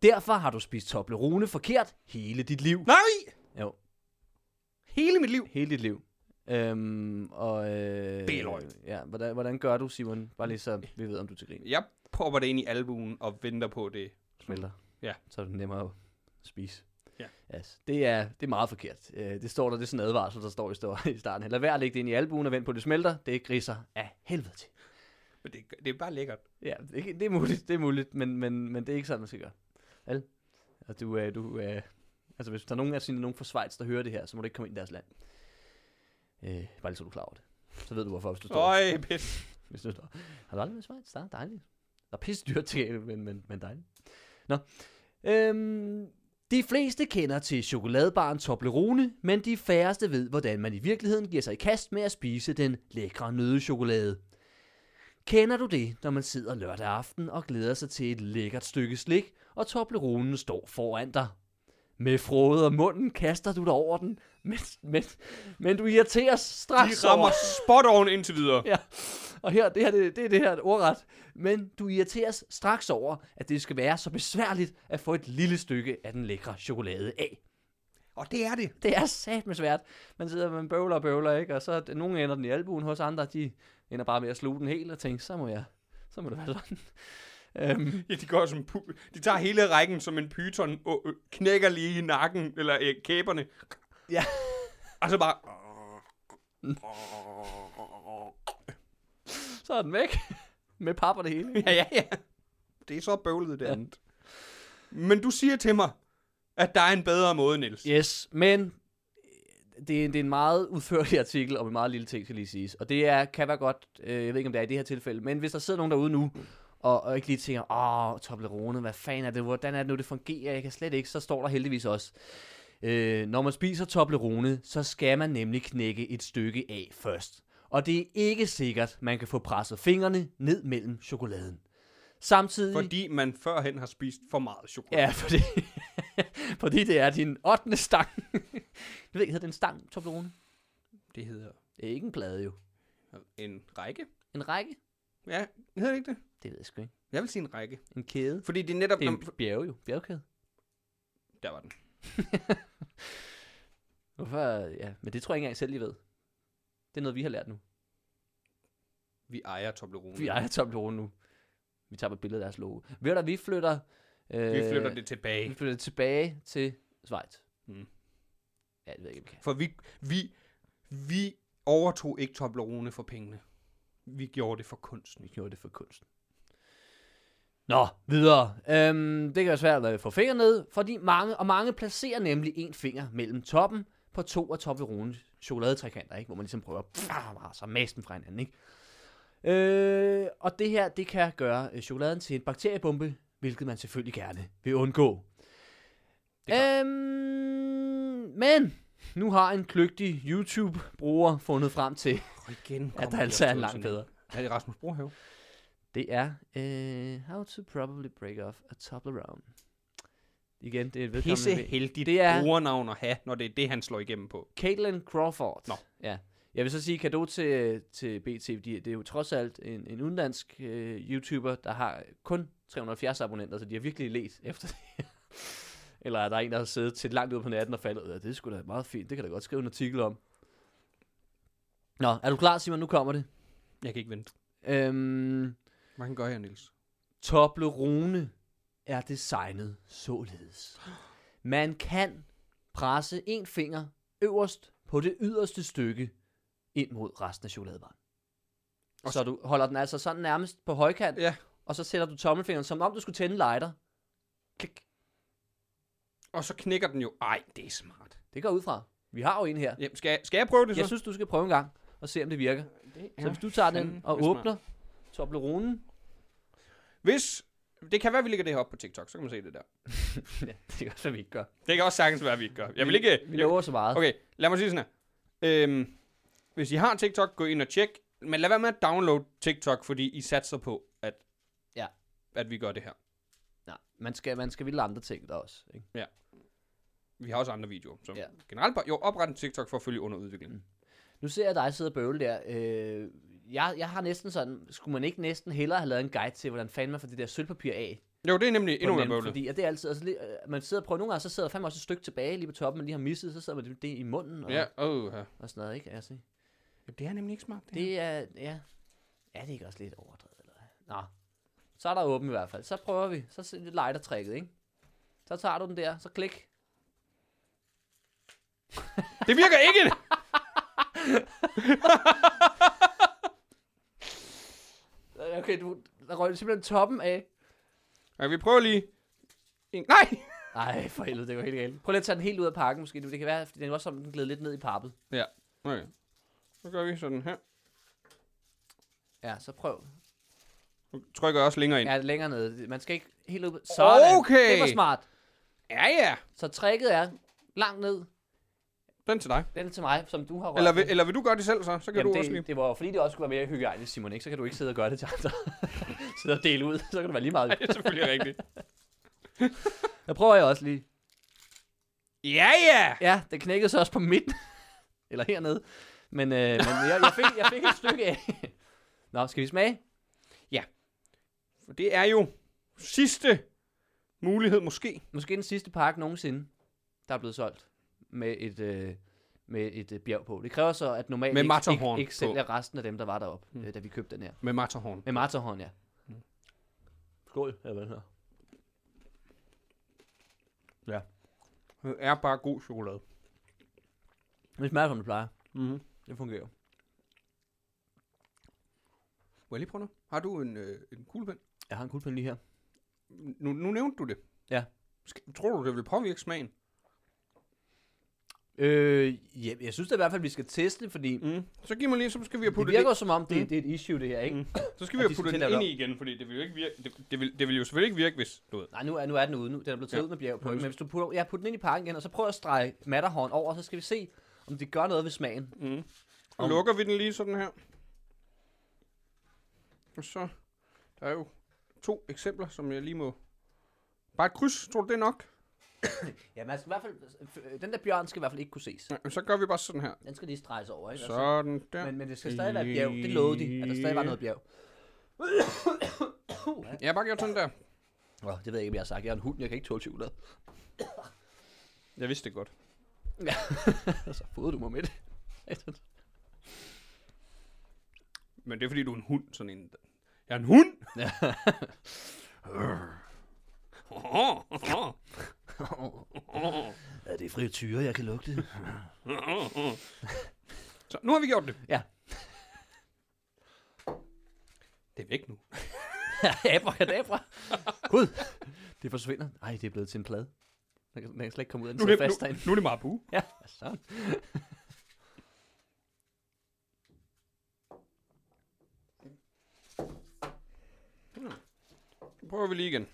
Speaker 3: Derfor har du spist Toblerone forkert hele dit liv.
Speaker 5: Nej!
Speaker 3: Jo,
Speaker 5: Hele mit liv.
Speaker 3: hele dit liv. Øhm, og... Øh,
Speaker 5: B-løgn.
Speaker 3: Ja, hvordan, hvordan gør du, Simon? Bare lige så vi ved, om du er til grin.
Speaker 5: Jeg popper det ind i albuen og venter på det.
Speaker 3: Smelter.
Speaker 5: Ja.
Speaker 3: Så er det nemmere at spise.
Speaker 5: Ja.
Speaker 3: Yes. Det, er, det er meget forkert. Øh, det står der, det er sådan en advarsel, der står i, står i starten. Lad være at lægge det ind i albuen og vent på, at det smelter. Det griser af helvede til.
Speaker 5: Men det, det er bare lækkert.
Speaker 3: Ja, det, det er muligt, det er muligt, men, men, men det er ikke sådan, man skal gøre. Vel? Og du, øh, du, øh, altså hvis der er nogen af sine nogen fra Schweiz, der hører det her, så må du ikke komme ind i deres land. Øh, bare lige så du er klar over det. Så ved du hvorfor, hvis du står.
Speaker 5: Øj, pis.
Speaker 3: Hvis du står. Har du aldrig været i Schweiz? Der er dejligt. Der er pisse dyrt til, men, men, men dejligt. Nå. Øhm, de fleste kender til chokoladebaren Toblerone, men de færreste ved, hvordan man i virkeligheden giver sig i kast med at spise den lækre nødechokolade. Kender du det, når man sidder lørdag aften og glæder sig til et lækkert stykke slik, og Tobleronen står foran dig? Med frode og munden kaster du dig over den, men, men, men du irriteres
Speaker 5: De
Speaker 3: straks over.
Speaker 5: rammer spot on indtil videre.
Speaker 3: (laughs) Ja, og her, det her, det, det er det her ordret. Men du irriteres straks over, at det skal være så besværligt at få et lille stykke af den lækre chokolade af.
Speaker 5: Og det er det.
Speaker 3: Det er satme svært. Man sidder med bøvler og bøvler, ikke? Og så er det- nogen ender den i albuen hos andre, de ender bare med at sluge den helt og tænke, så må jeg, så må det være sådan. øhm,
Speaker 5: Ja, de går som pu- De tager hele rækken som en pyton og øh, knækker lige i nakken, eller øh, kæberne.
Speaker 3: ja.
Speaker 5: Og så bare...
Speaker 3: Så er den væk. (laughs) med pap og det hele.
Speaker 5: Ja, ja, ja. Det er så bøvlet det andet. Men du siger til mig, at der er en bedre måde, Niels.
Speaker 3: Yes, men øh, det er, en- det er en meget udførlig artikel om en meget lille ting, skal lige siges. Og det er, kan være godt, øh, jeg ved ikke, om det er i det her tilfælde, men hvis der sidder nogen derude nu, og, og ikke lige tænker, åh, Toblerone, hvad fanden er det, hvordan er det nu, det fungerer, jeg kan slet ikke, så står der heldigvis også, øh, når man spiser Toblerone, så skal man nemlig knække et stykke af først. Og det er ikke sikkert, man kan få presset fingrene ned mellem chokoladen. Samtidig...
Speaker 5: Fordi man førhen har spist for meget chokolade.
Speaker 3: Ja, fordi, (laughs) fordi det er din 8. stang. du ved ikke, hedder det en stang, Toblerone?
Speaker 5: Det hedder
Speaker 3: Det er ikke en plade jo.
Speaker 5: en række.
Speaker 3: En række?
Speaker 5: Ja, hedder det ikke det?
Speaker 3: Det ved jeg sgu ikke.
Speaker 5: Jeg vil sige en række.
Speaker 3: En kæde?
Speaker 5: Fordi det er netop...
Speaker 3: Det er
Speaker 5: Jamen,
Speaker 3: en bjerge jo. Bjergkæde. (laughs)
Speaker 5: Der var den.
Speaker 3: Hvorfor? Ja, men det tror jeg ikke engang selv, I ved. Det er noget, vi har lært nu.
Speaker 5: Vi ejer Toblerone.
Speaker 3: Vi ejer Toblerone nu. Vi tager et billede af deres logo. Ved du, hvad, vi flytter... Øh,
Speaker 5: Vi flytter det
Speaker 3: Vi
Speaker 5: tilbage.
Speaker 3: flytter det tilbage til Schweiz.
Speaker 5: Mm.
Speaker 3: Ja, det ved jeg ikke, om vi kan.
Speaker 5: For vi, vi, vi overtog ikke Toblerone for pengene. Vi gjorde det for kunsten.
Speaker 3: Vi gjorde det for kunsten. Nå, videre. Øhm, det kan være svært at få fingre ned, fordi mange, og mange placerer nemlig en finger mellem toppen på to af Toblerones chokoladetrekanter, ikke? hvor man ligesom prøver (laughs) at pff, så mase dem fra hinanden. Ikke? Øh, og det her, det kan gøre øh, chokoladen til en bakteriebombe, hvilket man selvfølgelig gerne vil undgå.
Speaker 5: Det er
Speaker 3: Øhm, men nu har en kløgtig YouTube-bruger fundet frem til,
Speaker 5: Og igen
Speaker 3: at
Speaker 5: kommer
Speaker 3: der
Speaker 5: vi
Speaker 3: altså er
Speaker 5: også
Speaker 3: en
Speaker 5: til
Speaker 3: langt
Speaker 5: sådan
Speaker 3: bedre.
Speaker 5: Er det Rasmus Brohave?
Speaker 3: Det er øh, How to probably break off a Toblerone. Igen, det er et
Speaker 5: Pisse
Speaker 3: vedkommende.
Speaker 5: heldigt
Speaker 3: Det
Speaker 5: det
Speaker 3: er-
Speaker 5: er... brugernavn at have, når det er det, han slår igennem på.
Speaker 3: Caitlin Crawford.
Speaker 5: Nå.
Speaker 3: Ja. Jeg vil så sige kado til, til BT, fordi det er jo trods alt en, en udenlandsk øh, YouTuber, der har kun 370 abonnenter, så de har virkelig let efter det (laughs) her. Eller er der en, der har siddet til langt ud på natten og faldet? Ja, det er sgu da meget fint. Det kan da godt skrive en artikel om. Nå, er du klar, Simon? Nu kommer det.
Speaker 5: Jeg kan ikke vente.
Speaker 3: Øhm,
Speaker 5: Hvad kan gøre her, Niels?
Speaker 3: Toblerone er designet således. Man kan presse en finger øverst på det yderste stykke ind mod resten af chokoladebaren.
Speaker 5: Og
Speaker 3: Så du holder den altså sådan nærmest på højkant,
Speaker 5: Ja.
Speaker 3: og så sætter du tommelfingeren, som om du skulle tænde lighter. Klik.
Speaker 5: Og så knækker den jo. Ej, det er smart.
Speaker 3: Det går ud fra. Vi har jo en her.
Speaker 5: Jamen, skal, jeg- skal jeg prøve det så?
Speaker 3: Jeg synes, du skal prøve en gang og se, om det virker.
Speaker 5: det
Speaker 3: Så hvis du tager den
Speaker 5: fandme
Speaker 3: og
Speaker 5: smart.
Speaker 3: åbner Tobleronen. (laughs)
Speaker 5: Hvis... Det kan være, vi lægger det her op på TikTok, så kan man se det der.
Speaker 3: ja, det gør så, vi ikke gør.
Speaker 5: Det kan også sagtens være, vi ikke gør. Jeg vil ikke...
Speaker 3: Vi lover så meget.
Speaker 5: Okay, lad mig sige sådan her. Øhm, hvis I har TikTok, gå ind og tjek. Men lad være med at downloade TikTok, fordi I satser på, at,
Speaker 3: Ja.
Speaker 5: at vi gør det her.
Speaker 3: Nej, man skal, man skal ville andre ting der også. Ikke?
Speaker 5: Vi har også andre videoer. Så
Speaker 3: Ja.
Speaker 5: ja. generelt bare, jo, opret en TikTok for at følge under udviklingen.
Speaker 3: Nu ser jeg dig sidde og bøvle der. Øh, jeg, jeg har næsten sådan, skulle man ikke næsten hellere have lavet en guide til, hvordan fanden man får det der sølvpapir af? på
Speaker 5: Jo, det er nemlig endnu
Speaker 3: en
Speaker 5: mere
Speaker 3: anden,
Speaker 5: bøvlet.
Speaker 3: Fordi at det er altid, altså, lige- øh, man sidder og prøver nogle gange, så sidder der fandme også et stykke tilbage lige på toppen, man lige har misset, så sidder man det, det i munden og,
Speaker 5: Ja, åh. ja.
Speaker 3: og sådan noget, ikke? Altså,
Speaker 5: Det er nemlig ikke smart. Det, det...
Speaker 3: det er, ja, er det ikke også lidt overdrevet? Eller? hvad? Nå, så er der åben i hvert fald. Så prøver vi, så se- lidt lighter-tricket, ikke? Så tager du den der, så klik.
Speaker 5: det virker ikke!
Speaker 3: (laughs) Øh, Okay, du, der røg simpelthen toppen af.
Speaker 5: Okay, vi prøver lige. En... Nej!
Speaker 3: Nej, for helvede, det går helt galt. Prøv lige at tage den helt ud af pakken måske. Det kan være, fordi den var sådan, den gled lidt ned i pappet.
Speaker 5: Okay. Så gør vi sådan her.
Speaker 3: Ja, så prøv.
Speaker 5: Nu trykker jeg også længere ind.
Speaker 3: Ja, længere nede. Man skal ikke helt ud. Sådan.
Speaker 5: Okay.
Speaker 3: Det var smart.
Speaker 5: Ja, ja.
Speaker 3: Så tricket er langt ned.
Speaker 5: Den til dig.
Speaker 3: Den er til mig, som du har rørt.
Speaker 5: Eller
Speaker 3: ved,
Speaker 5: vil, eller vil du gøre det selv så? Så kan
Speaker 3: Jamen,
Speaker 5: du også lige.
Speaker 3: det, det var jo fordi, det også skulle være mere hygiejnisk, Simon, ikke? Så kan du ikke sidde og gøre det til andre. (laughs) sidde og dele ud. Så kan det være lige meget.
Speaker 5: Det er (laughs) selvfølgelig rigtigt.
Speaker 3: Jeg prøver jeg også lige.
Speaker 5: Ja, ja!
Speaker 3: Ja, det knækkede så også på midten. (laughs) Eller hernede. Men, øh, men jeg, jeg, fik, jeg fik et stykke af. (laughs) Nå, skal vi smage?
Speaker 5: For det er jo sidste mulighed måske.
Speaker 3: Måske den sidste pakke nogensinde, der er blevet solgt med et, øh, med et øh, bjerg på. Det kræver så, at normalt
Speaker 5: Med
Speaker 3: ikke, ikke,
Speaker 5: Matterhorn
Speaker 3: ikke sælger resten af dem, der var deroppe, mm. øh, da vi købte den her.
Speaker 5: Med Matterhorn.
Speaker 3: Med Matterhorn, ja. Skål, ja, hvad her.
Speaker 5: Det er bare god chokolade.
Speaker 3: Det smager, som det plejer.
Speaker 5: Mm-hmm.
Speaker 3: Det fungerer.
Speaker 5: Må jeg lige prøve noget? Har du en, øh, en kuglepen?
Speaker 3: Jeg har en kuglepen lige her.
Speaker 5: Nu, nu nævnte du det.
Speaker 3: Ja.
Speaker 5: Sk- tror du, det vil påvirke smagen?
Speaker 3: Øh, ja, jeg synes da i hvert fald, vi skal teste det, fordi mm.
Speaker 5: Mm. Så giv mig lige, så skal vi have
Speaker 3: det
Speaker 5: puttet
Speaker 3: virker
Speaker 5: det,
Speaker 3: jo som om, det,
Speaker 5: Mm.
Speaker 3: det er et issue, det her, ikke? Mm.
Speaker 5: så skal vi have
Speaker 3: at de skal
Speaker 5: puttet
Speaker 3: til
Speaker 5: den
Speaker 3: at lave
Speaker 5: ind
Speaker 3: det
Speaker 5: i igen, fordi det vil jo ikke virke, det, det, vil, det vil jo selvfølgelig ikke virke, hvis du ved.
Speaker 3: Nej, nu er, nu er den ude nu. Den er blevet taget
Speaker 5: Ja.
Speaker 3: ud med bjerg på. Men hvis du putter, ja, putter den ind i pakken igen, og så prøver at strege Matterhorn over, så skal vi se, om det gør noget ved smagen.
Speaker 5: Mm. Og lukker vi den lige sådan her. Og så, der er jo to eksempler, som jeg lige må... Bare et kryds, tror du det er nok?
Speaker 3: Ja, man skal i hvert fald, øh, den der bjørn skal i hvert fald ikke kunne ses.
Speaker 5: Nej, så gør vi bare sådan her.
Speaker 3: Den skal lige streges over, ikke? Altså,
Speaker 5: Sådan der.
Speaker 3: men, men det skal stadig være et bjerg. Det lovede de, at der stadig var noget bjerg.
Speaker 5: Jeg har bare gjort sådan der.
Speaker 3: Nå, det ved jeg ikke, om jeg har sagt. Jeg er en hund, jeg kan ikke tåle chokolade. (laughs)
Speaker 5: Jeg vidste det godt.
Speaker 3: så fodede Altså, du mig med det. (laughs)
Speaker 5: Men det er fordi, du er en hund, sådan en... Jeg er en (laughs) hund!
Speaker 3: Ja. er det frityre, jeg kan (laughs) lugte?
Speaker 5: så nu har vi gjort det.
Speaker 3: Ja.
Speaker 5: Det er væk nu.
Speaker 3: Abracadabra. Gud, det forsvinder. Nej, det er blevet til en plade. Den kan, den kan slet ikke komme ud af den,
Speaker 5: Nu
Speaker 3: så
Speaker 5: er det,
Speaker 3: fast
Speaker 5: nu,
Speaker 3: derinde.
Speaker 5: nu er det Marabu.
Speaker 3: Ja, sådan.
Speaker 5: Nu prøver vi lige igen.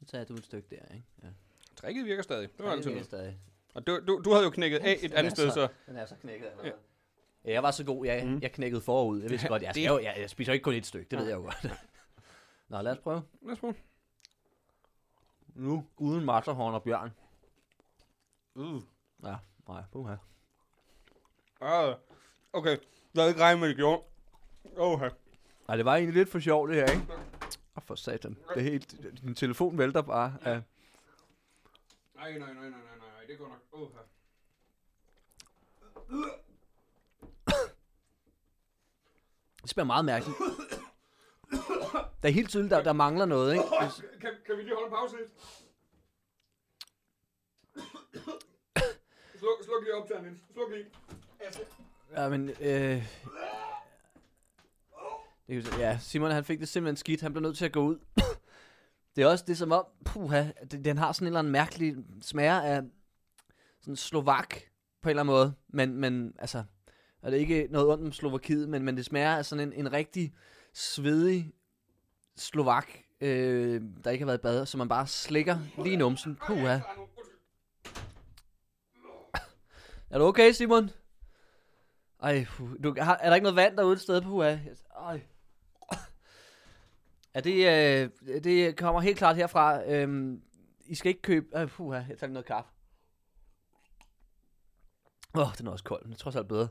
Speaker 3: Så tager du et stykke der, ikke? Ja.
Speaker 5: Tricket virker altså. stadig. Det var altid
Speaker 3: det er
Speaker 5: noget.
Speaker 3: stadig.
Speaker 5: Og du, du, du havde jo knækket af et
Speaker 3: Den
Speaker 5: andet
Speaker 3: er
Speaker 5: sted, så...
Speaker 3: Den er så knækket allerede. Ja. Jeg var så god, jeg, mm. jeg knækkede forud. Jeg vidste godt, jeg,
Speaker 5: det-
Speaker 3: skal jo, jeg, jeg spiser jo ikke kun et stykke, det ved jeg jo godt. (laughs) Nå, lad os prøve.
Speaker 5: Lad os prøve.
Speaker 3: Nu, uden matterhorn og bjørn.
Speaker 5: Uh.
Speaker 3: Ja, nej, puha.
Speaker 5: Ah, okay, jeg havde ikke regnet med, det gjorde. Okay.
Speaker 3: Nej, det var egentlig lidt for sjovt det her, ikke? Og for satan. Det er helt, din telefon vælter bare. Af.
Speaker 5: Nej, nej, nej, nej, nej, nej, det går nok. Åh, her.
Speaker 3: Det smager meget mærkeligt. Der er helt tydeligt, der, der mangler noget, ikke? Hvis-
Speaker 5: Kan, kan vi lige holde en pause lidt? sluk, sluk lige op, Tanin. Sluk lige. Altså,
Speaker 3: Ja, men... Øh... Det kan, vi se. ja, Simon han fik det simpelthen skidt. Han blev nødt til at gå ud. (coughs) det er også det er som om, puha, den, den har sådan en eller anden mærkelig smager af sådan slovak på en eller anden måde. Men, men altså, og det er ikke noget ondt om Slovakiet, men, men det smager af sådan en, en rigtig svedig slovak, øh, der ikke har været i bad, så man bare slikker lige i numsen. Puha.
Speaker 5: altså,
Speaker 3: Er du okay, Simon? Ej, puh, du, har, er der ikke noget vand derude et sted på UA? Ej. Er det, øh, det kommer helt klart herfra. Øhm, I skal ikke købe... Øh, puha, jeg tager lige noget kaffe. Åh, oh, den er også kold, men det er trods alt bedre.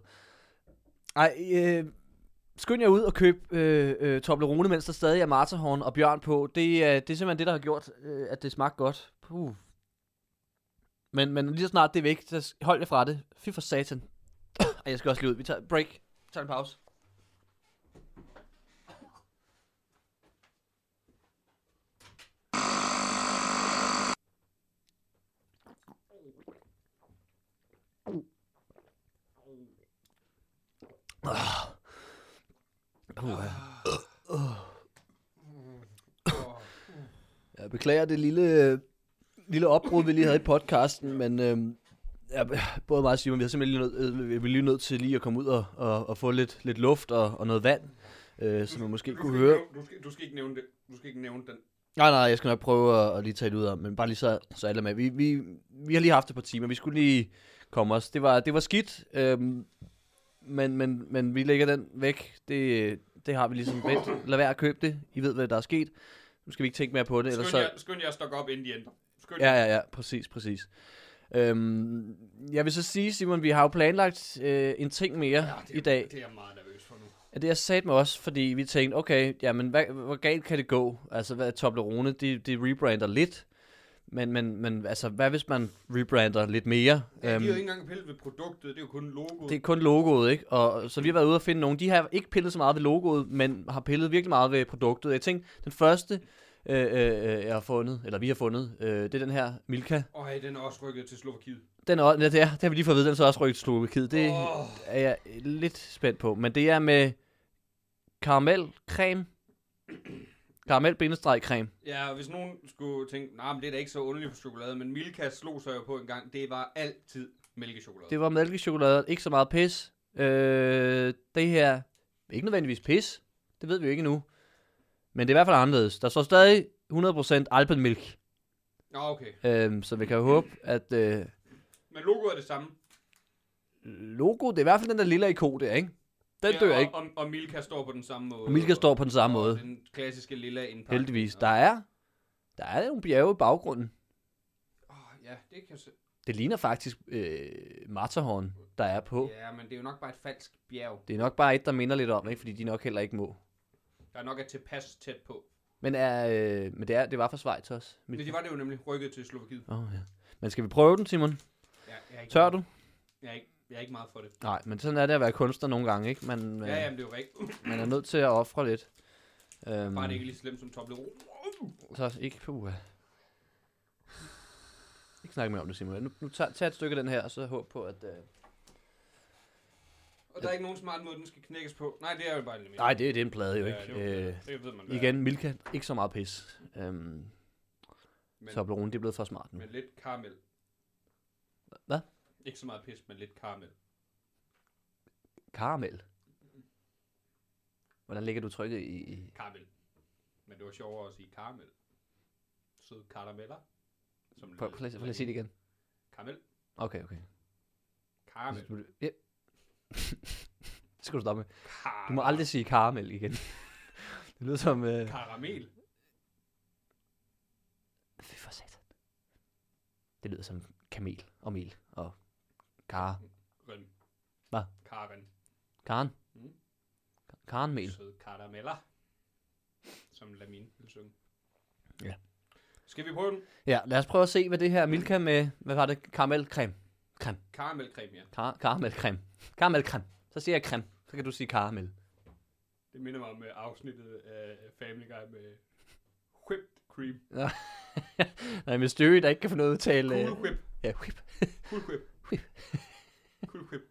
Speaker 3: Ej, øh, skynd jer ud og køb øh, øh, Toblerone, mens der stadig er Martahorn og Bjørn på. Det, øh, det er simpelthen det, der har gjort, øh, at det smagte godt. Puh. Men, men lige så snart det er væk, så s- hold jer fra det. Fy for satan. (coughs) Ej, jeg skal også lige ud. Vi tager break. Vi tager en pause. Ah. Puh, ja. Jeg beklager det lille, øh, lille opbrud, vi lige havde i podcasten, men øh, ja, både mig og Simon, vi har simpelthen lige nødt, øh, vi er lige nødt til lige at komme ud og, og, og få lidt, lidt luft og, og noget vand, øh, som man måske kunne høre.
Speaker 5: Du skal, du skal ikke nævne det. Du skal ikke nævne den.
Speaker 3: Nej, nej, jeg skal nok prøve at, at lige tage det ud af, men bare lige så, så alle er med. Vi, vi, vi har lige haft et par timer, vi skulle lige komme os. Det var, det var skidt, øhm, men, men, men vi lægger den væk. Det, det har vi ligesom vendt. Lad være at købe det. I ved, hvad der er sket. Nu skal vi ikke tænke mere på det.
Speaker 5: Skynd,
Speaker 3: Ellers
Speaker 5: så...
Speaker 3: så...
Speaker 5: jer, skynd jer at stokke op, inden de ændrer. Skynd jer.
Speaker 3: Ja, ja, ja, præcis, præcis. Øhm, jeg vil så sige, Simon, vi har jo planlagt øh, en ting mere ja,
Speaker 5: Ah, det er,
Speaker 3: i dag.
Speaker 5: Det er jeg meget nervøs for nu.
Speaker 3: Ja, det har sat mig også, fordi vi tænkte, okay, jamen, hvad, hvor galt kan det gå? Altså, hvad, Toblerone, de, de rebrander lidt, men, men, men altså, hvad hvis man rebrander lidt mere?
Speaker 5: Ja,
Speaker 3: Øhm,
Speaker 5: de har jo ikke engang pillet ved produktet, det er jo kun logoet.
Speaker 3: det er kun logoet, ikke? Og, så vi har været ude og finde nogle. De har ikke pillet så meget ved logoet, men har pillet virkelig meget ved produktet. Jeg tænkte, den første, øh, øh, jeg har fundet, eller vi har fundet, øh, det er den her Milka.
Speaker 5: Øj, den er også rykket til Slovakiet.
Speaker 3: Den er, også- ja, det, er, det har vi lige fået at vide, den er så også rykket til Slovakiet. Det
Speaker 5: Åh.
Speaker 3: er jeg lidt spændt på. Men det er med karamelcreme. Karamel-creme.
Speaker 5: Ja, og hvis nogen skulle tænke, nej, men det er da ikke så underligt for chokolade, men Milka slog sig jo på en gang, det var altid mælkechokolade.
Speaker 3: Det var mælkechokolade, ikke så meget pis. Øh, det her, ikke nødvendigvis pis. Det ved vi jo ikke endnu. Men det er i hvert fald anderledes. Der står stadig 100% alpenmilk.
Speaker 5: Nå, okay.
Speaker 3: Øh, så vi kan jo håbe, at øh,
Speaker 5: Men logoet er det samme.
Speaker 3: logo, det er i hvert fald den der lille ikon der, ikke? Den
Speaker 5: Ja,
Speaker 3: dør
Speaker 5: og,
Speaker 3: ikke.
Speaker 5: Og, og Milka står på den samme måde.
Speaker 3: Milka står på den samme
Speaker 5: og
Speaker 3: måde.
Speaker 5: Den klassiske lilla indpakke.
Speaker 3: Heldigvis. Der er, der er nogle bjerge i baggrunden.
Speaker 5: Åh, ja, det kan se.
Speaker 3: Det ligner faktisk øh, Matterhorn, der er på.
Speaker 5: Ja, men det er jo nok bare et falsk bjerg,
Speaker 3: Det er nok bare et, der minder lidt om, ikke? fordi de nok heller ikke må.
Speaker 5: der nok er tilpas tæt på.
Speaker 3: Men, er, øh, men det, er, det var fra Schweiz også. Mit...
Speaker 5: Men det var det jo nemlig rykket til Slovakiet.
Speaker 3: Oh, ja. Men skal vi prøve den, Simon?
Speaker 5: Ja, jeg er ikke,
Speaker 3: Tør du?
Speaker 5: Jeg er ikke, jeg er ikke meget for det.
Speaker 3: Nej, men sådan er det at være kunstner nogle gange, ikke? Man, øh,
Speaker 5: Ja, jamen, det er jo rigtigt.
Speaker 3: man er nødt til at ofre lidt. Øhm,
Speaker 5: Bare det ikke lige så slemt som Toblerone.
Speaker 3: Så ikke, puha. Ikke snakke mere om det, Simon. Nu, nu tager, tager et stykke af den her, og så håb på, at... Øh...
Speaker 5: Og der er ikke nogen smart måde, den skal knækkes på. Nej, det er jo bare en
Speaker 3: Nej, det, det er en plade jo
Speaker 5: Ja,
Speaker 3: ikke.
Speaker 5: det, er jo-
Speaker 3: øh,
Speaker 5: det ved man hvad er.
Speaker 3: igen, Milka, ikke så meget pis. Øhm,
Speaker 5: Men-
Speaker 3: Toblerone, det er blevet for smart nu.
Speaker 5: Men lidt karamel.
Speaker 3: Hvad?
Speaker 5: Ikke så meget pis, men lidt karamel.
Speaker 3: Karamel. Hvordan ligger du trykket i... i-
Speaker 5: Karamel. Men det var sjovere at sige karamel. Søde karameller. Som
Speaker 3: Prøv, prøv, lige- prøv lige at sige det igen.
Speaker 5: Karamel.
Speaker 3: Okay, okay.
Speaker 5: Karamel.
Speaker 3: Ja. (laughs) det skal du stoppe med.
Speaker 5: Karamel.
Speaker 3: Du må aldrig sige karamel igen. det lyder som... Øh...
Speaker 5: Karamel.
Speaker 3: Fy for satan. Det lyder som kamel og mel og kar.
Speaker 5: Røn.
Speaker 3: Hvad?
Speaker 5: Karen.
Speaker 3: Karen.
Speaker 5: Mm.
Speaker 3: Karenmel.
Speaker 5: Søde karameller. som Lamin ville synge.
Speaker 3: Ja.
Speaker 5: Skal vi prøve den?
Speaker 3: Ja, lad os prøve at se, hvad det her Milka med, hvad var det, karamelcreme. Creme.
Speaker 5: Karamelcreme, ja.
Speaker 3: Kar- karamelcreme. Karamelcreme. Så siger jeg creme. Så kan du sige karamel.
Speaker 5: Det minder mig om øh, afsnittet af Family Guy med whipped cream.
Speaker 3: (laughs) Nej, men Stewie, der ikke kan få noget at tale. øh,
Speaker 5: Cool whip.
Speaker 3: Ja, whip.
Speaker 5: Cool whip.
Speaker 3: Whip.
Speaker 5: (laughs) cool whip.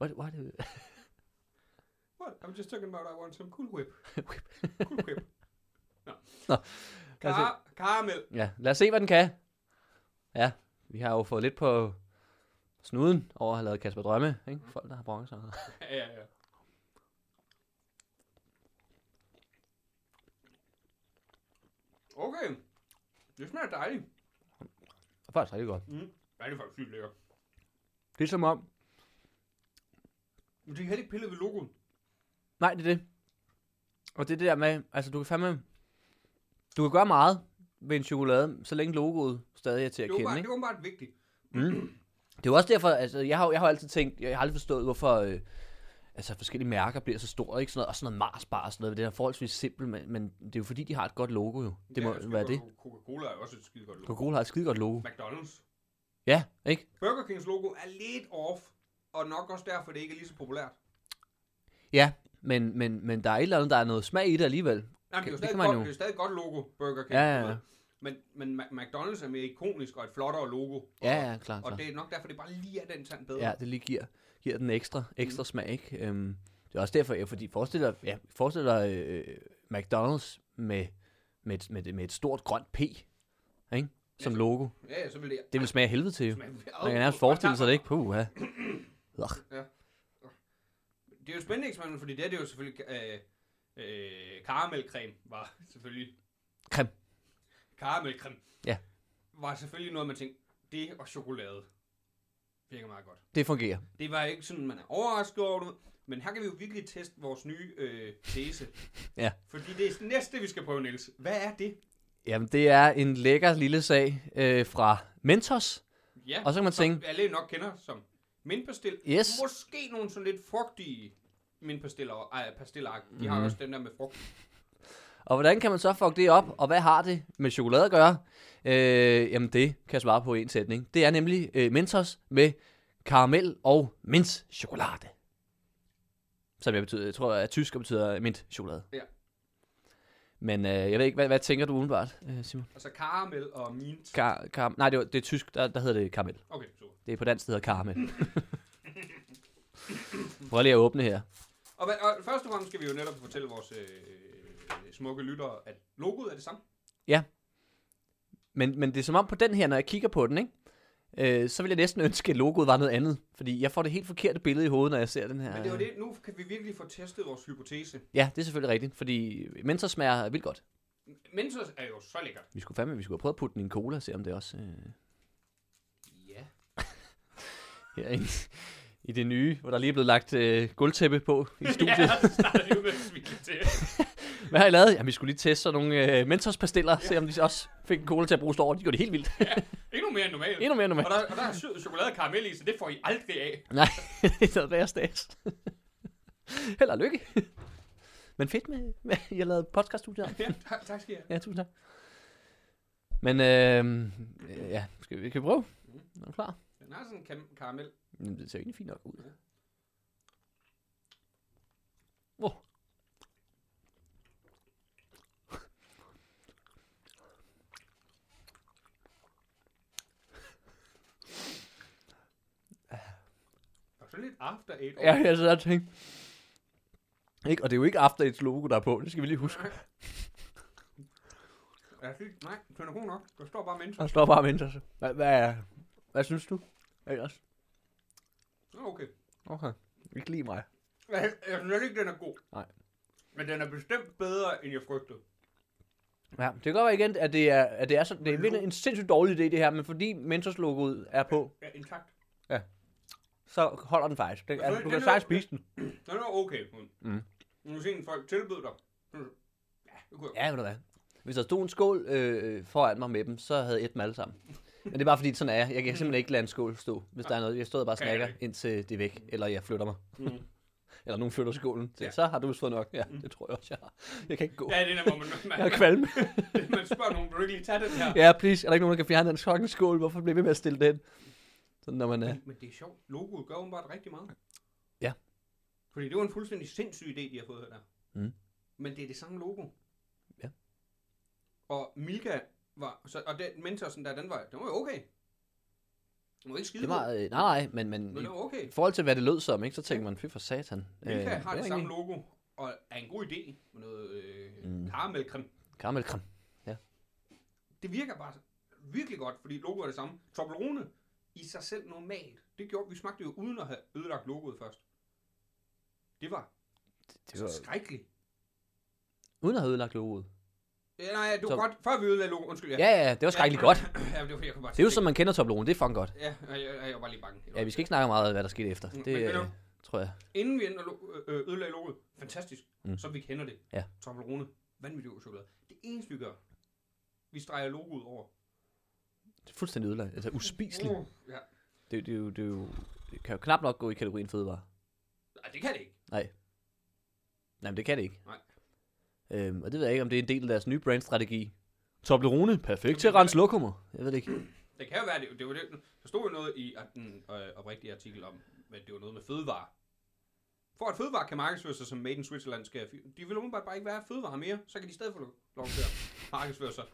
Speaker 3: What, what, øh,
Speaker 5: What? I'm just talking about I want some cool whip.
Speaker 3: (laughs) whip.
Speaker 5: Cool
Speaker 3: (laughs)
Speaker 5: whip. Nå.
Speaker 3: Nå. Lad os se.
Speaker 5: Kar- karamel.
Speaker 3: Ja, lad os se, hvad den kan. Ja, vi har jo fået lidt på snuden over at have lavet Kasper Drømme. Ikke?
Speaker 5: Mhm.
Speaker 3: Folk, der har bronzer.
Speaker 5: Ja, ja, ja. Okay. Det smager dejligt.
Speaker 3: Det er faktisk rigtig godt.
Speaker 5: Mm. Ja, det er faktisk sygt lækkert.
Speaker 3: Det er som Ligesom om...
Speaker 5: Men de har heller ikke pillet ved logoet.
Speaker 3: Nej, det er det. Og det er det der med, altså du kan fandme... Du kan gøre meget ved en chokolade, så længe logoet stadig er til at
Speaker 5: Det er
Speaker 3: kende,
Speaker 5: åbenbart, det
Speaker 3: ikke?
Speaker 5: er åbenbart vigtigt.
Speaker 3: Mm. Det er jo også derfor, altså jeg har, jo- jeg har jo altid tænkt, jeg har aldrig forstået, hvorfor... Øh, altså forskellige mærker bliver så store, ikke? Sådan noget, og sådan noget Mars bar og sådan noget, det er forholdsvis simpelt, men, men det er jo fordi, de har et godt logo jo. Det må
Speaker 5: er skide
Speaker 3: være
Speaker 5: godt
Speaker 3: det.
Speaker 5: logo. Coca-Cola er også et skide godt logo.
Speaker 3: Coca-Cola har et skide godt logo.
Speaker 5: McDonald's.
Speaker 3: Ja, ikke?
Speaker 5: Burger Kings logo er lidt off, og nok også derfor, det ikke er lige så populært.
Speaker 3: Ja, men, men, men der er et eller andet, der er noget smag i det alligevel.
Speaker 5: Nej, men det, er jo
Speaker 3: Det
Speaker 5: stadig
Speaker 3: kan man
Speaker 5: godt,
Speaker 3: jo.
Speaker 5: det er stadig et godt logo, Burger King.
Speaker 3: Ja, ja,
Speaker 5: du ved.
Speaker 3: ja.
Speaker 5: Men, men Ma- McDonald's er mere ikonisk og et flottere logo.
Speaker 3: Ja, ja, klart.
Speaker 5: Og
Speaker 3: klart.
Speaker 5: det er nok derfor, det bare lige er den tand bedre.
Speaker 3: Ja, det lige giver, giver den ekstra, ekstra smag, ikke? Øhm, det er også derfor, ja, fordi forestil dig, ja, forestil dig øh, McDonald's med, med, et- med, et- med et stort grønt P, ikke? Som
Speaker 5: Ja.
Speaker 3: logo.
Speaker 5: ja, ja, så vil det...
Speaker 3: Det vil smage af helvede til, jo.
Speaker 5: smage
Speaker 3: Man kan nærmest forestille sig det, ikke? Puh, ja.
Speaker 5: Det er jo et spændende eksperiment, fordi det, her, det er jo selvfølgelig... Øh, øh, karamelcreme var selvfølgelig...
Speaker 3: Creme.
Speaker 5: Karamelcreme.
Speaker 3: Ja.
Speaker 5: Var selvfølgelig noget, man tænkte, det og chokolade virker meget godt.
Speaker 3: Det fungerer.
Speaker 5: Det var ikke sådan, man er overrasket over det, men her kan vi jo virkelig teste vores nye øh, tese.
Speaker 3: (laughs) Ja.
Speaker 5: Fordi det er det næste, vi skal prøve, Niels. Hvad er det?
Speaker 3: Jamen, det er en lækker lille sag øh, fra Mentos.
Speaker 5: Ja,
Speaker 3: Og så kan man
Speaker 5: som
Speaker 3: tænke-
Speaker 5: alle nok kender som mindpastil.
Speaker 3: Yes.
Speaker 5: Måske nogle sådan lidt frugtige mindpastiller. Ej, pastiller. De
Speaker 3: Mhm.
Speaker 5: har også den der med frugt.
Speaker 3: Og hvordan kan man så fuck det op, og hvad har det med chokolade at gøre? Øh, jamen det kan jeg svare på i en sætning. Det er nemlig øh, Mentos med karamel og mintchokolade. Som jeg, betyder, jeg tror er tysk og betyder mintchokolade.
Speaker 5: Ja.
Speaker 3: Men øh, jeg ved ikke, hvad, hvad tænker du umiddelbart, øh, Simon?
Speaker 5: Altså karamel og mint.
Speaker 3: Kar, kar, nej, det, var, det er tysk, der, der hedder det karamel.
Speaker 5: Okay, super.
Speaker 3: Det er på dansk, det hedder karamel. (laughs) Prøv lige at åbne her.
Speaker 5: Og, hvad- og først og fremmest skal vi jo netop fortælle vores øh, smukke lyttere, at logoet er det samme.
Speaker 3: Men, men det er som om på den her, når jeg kigger på den, ikke? Øh, så vil jeg næsten ønske, at logoet var noget andet. Fordi jeg får det helt forkerte billede i hovedet, når jeg ser den her.
Speaker 5: Men det er jo det, nu kan vi virkelig få testet vores hypotese.
Speaker 3: Ja, det er selvfølgelig rigtigt, fordi Mentos smager vildt godt.
Speaker 5: Mentos er jo så lækkert.
Speaker 3: Vi skulle fandme, vi skulle have prøvet at putte den i en cola og se, om det også øh,
Speaker 5: Ja.
Speaker 3: herinde i (laughs) det nye, hvor der lige er blevet lagt øh, guldtæppe på
Speaker 5: (laughs)
Speaker 3: i studiet.
Speaker 5: ja, så starter vi jo med at smile til.
Speaker 3: Hvad har I lavet? Jamen, vi skulle lige teste sådan nogle øh, Mentos-pastiller, se om de også fik en cola til at bruge over. De gjorde det helt vildt.
Speaker 5: Ikke nogen mere end normalt.
Speaker 3: Endnu mere normalt.
Speaker 5: Og der, og der er sød chokolade og karamel i, så det får I aldrig af.
Speaker 3: Nej, (laughs) det er noget værre stas. Held og lykke. (laughs) Men fedt med, med I har lavet podcaststudier.
Speaker 5: Ja, tak, tak skal I have.
Speaker 3: Ja, tusind tak. Men øh, øh, ja, skal vi, kan vi prøve? Er du klar?
Speaker 5: Den har sådan en kam- karamel.
Speaker 3: Jamen, det ser egentlig fint nok ud.
Speaker 5: Ja.
Speaker 3: Åh.
Speaker 5: Og sådan lidt after eight.
Speaker 3: Ja, jeg sad og tænkte. Ikke? Og det er jo ikke After Eights logo, der er på. Det skal vi lige huske.
Speaker 5: Jeg synes, nej, den er god nok. Der står bare mennesker.
Speaker 3: Der står bare Mentos. Hvad, hvad, hvad synes du ellers?
Speaker 5: Nå, Okay.
Speaker 3: Okay. Ikke lige mig.
Speaker 5: Jeg, jeg synes heller ikke, den er god.
Speaker 3: Nej.
Speaker 5: Men den er bestemt bedre, end jeg frygtede.
Speaker 3: Ja, det kan godt være igen, at det er, at det er, sådan, det er
Speaker 5: Men
Speaker 3: virkelig
Speaker 5: lo-
Speaker 3: en sindssygt dårlig idé, det her, men fordi Mentos-logoet er på,
Speaker 5: Ja, intakt.
Speaker 3: så holder den faktisk. Den,
Speaker 5: Men så er
Speaker 3: altså, du
Speaker 5: det
Speaker 3: kan
Speaker 5: den
Speaker 3: sejt
Speaker 5: der-
Speaker 3: spise den.
Speaker 5: Den er okay. Men
Speaker 3: Mm.
Speaker 5: Nu ser en folk tilbyde dig. Mm. Ja, det kunne jeg.
Speaker 3: Ja, ved du hvad. Hvis der stod en skål øh, foran mig med dem, så havde jeg et dem alle sammen. Men det er bare fordi, sådan er jeg. Jeg kan simpelthen ikke lade en skål stå, hvis der er noget. Jeg står og bare og
Speaker 5: Kan jeg
Speaker 3: snakker,
Speaker 5: ikke.
Speaker 3: indtil det er væk, eller jeg flytter mig.
Speaker 5: Mm.
Speaker 3: (laughs) eller nogen flytter skålen til, ja.
Speaker 5: Ja. Mm.
Speaker 3: så har du fået nok. Ja, det tror jeg også, jeg har. Jeg kan ikke gå.
Speaker 5: Ja, det er der, hvor man,
Speaker 3: (laughs)
Speaker 5: man,
Speaker 3: Jeg har kvalme.
Speaker 5: (laughs) man, man spørger nogen, vil du ikke lige tage den her?
Speaker 3: ja, please. Er der ikke nogen, der kan fjerne den fucking skål? Hvorfor bliver vi ved med at stille den? Sådan, når man er...
Speaker 5: Men, men det er sjovt. Logoet gør åbenbart rigtig meget.
Speaker 3: Ja.
Speaker 5: Fordi det var en fuldstændig sindssyg idé, de har fået her der.
Speaker 3: Mm.
Speaker 5: Men det er det samme logo.
Speaker 3: Ja.
Speaker 5: Og Milka var... Så, og den mentorsen der, den var, den var jo okay. Den var ikke skide
Speaker 3: Det var, øh, nej, nej, men, men
Speaker 5: god, men
Speaker 3: i,
Speaker 5: den var okay.
Speaker 3: i forhold til, hvad det lød som, ikke, så tænker man, fy for satan.
Speaker 5: Milka øh, har
Speaker 3: var
Speaker 5: det
Speaker 3: ikke
Speaker 5: samme
Speaker 3: en
Speaker 5: logo, og er en god idé med noget øh,
Speaker 3: Mm.
Speaker 5: mm. karamelcreme.
Speaker 3: Karamelkram.
Speaker 5: Det virker bare virkelig godt, fordi logoet er det samme. Toblerone i sig selv normalt, det gjorde, vi smagte jo uden at have ødelagt logoet først. Det var
Speaker 3: Det
Speaker 5: Så skrækkeligt.
Speaker 3: uden at have ødelagt logoet.
Speaker 5: Ja, nej, det var
Speaker 3: Så-
Speaker 5: godt. Før vi ødelagde logo, undskyld.
Speaker 3: Ja, ja, det var skrækkeligt godt.
Speaker 5: ja, men det var fordi, jeg kunne bare
Speaker 3: Det er jo som man kender Toblerone, det er fucking godt.
Speaker 5: Ja, jeg, jeg, jeg var lige bange.
Speaker 3: Ja, vi skal ikke snakke meget om, hvad der skete efter.
Speaker 5: Mm,
Speaker 3: Det
Speaker 5: men ved
Speaker 3: øh,
Speaker 5: du-
Speaker 3: tror jeg.
Speaker 5: Inden vi ændrer lo- øh, øh, ødelagde logoet, fantastisk,
Speaker 3: Mm.
Speaker 5: mm. så vi kender det.
Speaker 3: Ja.
Speaker 5: Toblerone, vanvittig chokolade. Det eneste, vi gør, vi streger logoet over.
Speaker 3: Det er fuldstændig ødelagt. Altså uspiseligt.
Speaker 5: Uh, ja.
Speaker 3: Det, det, er jo- det, er jo- det kan jo knap nok gå i kategorien fødevare.
Speaker 5: Nej, det kan det ikke.
Speaker 3: Nej, men det kan det ikke.
Speaker 5: Nej.
Speaker 3: Øhm, og det ved jeg ikke, om det er en del af deres nye brandstrategi. Toblerone, perfekt til at
Speaker 5: Jamen,
Speaker 3: rense lokummer. Jeg ved det ikke.
Speaker 5: Det kan jo være, det, det var det. Der stod jo noget i at den øh, oprigtige artikel om, at det var noget med fødevare. For at fødevare kan markedsføre sig som Made in Switzerland skal, de vil umiddelbart bare ikke være fødevare mere, så kan de i stedet få lov lov til at markedsføre
Speaker 3: (laughs)
Speaker 5: sig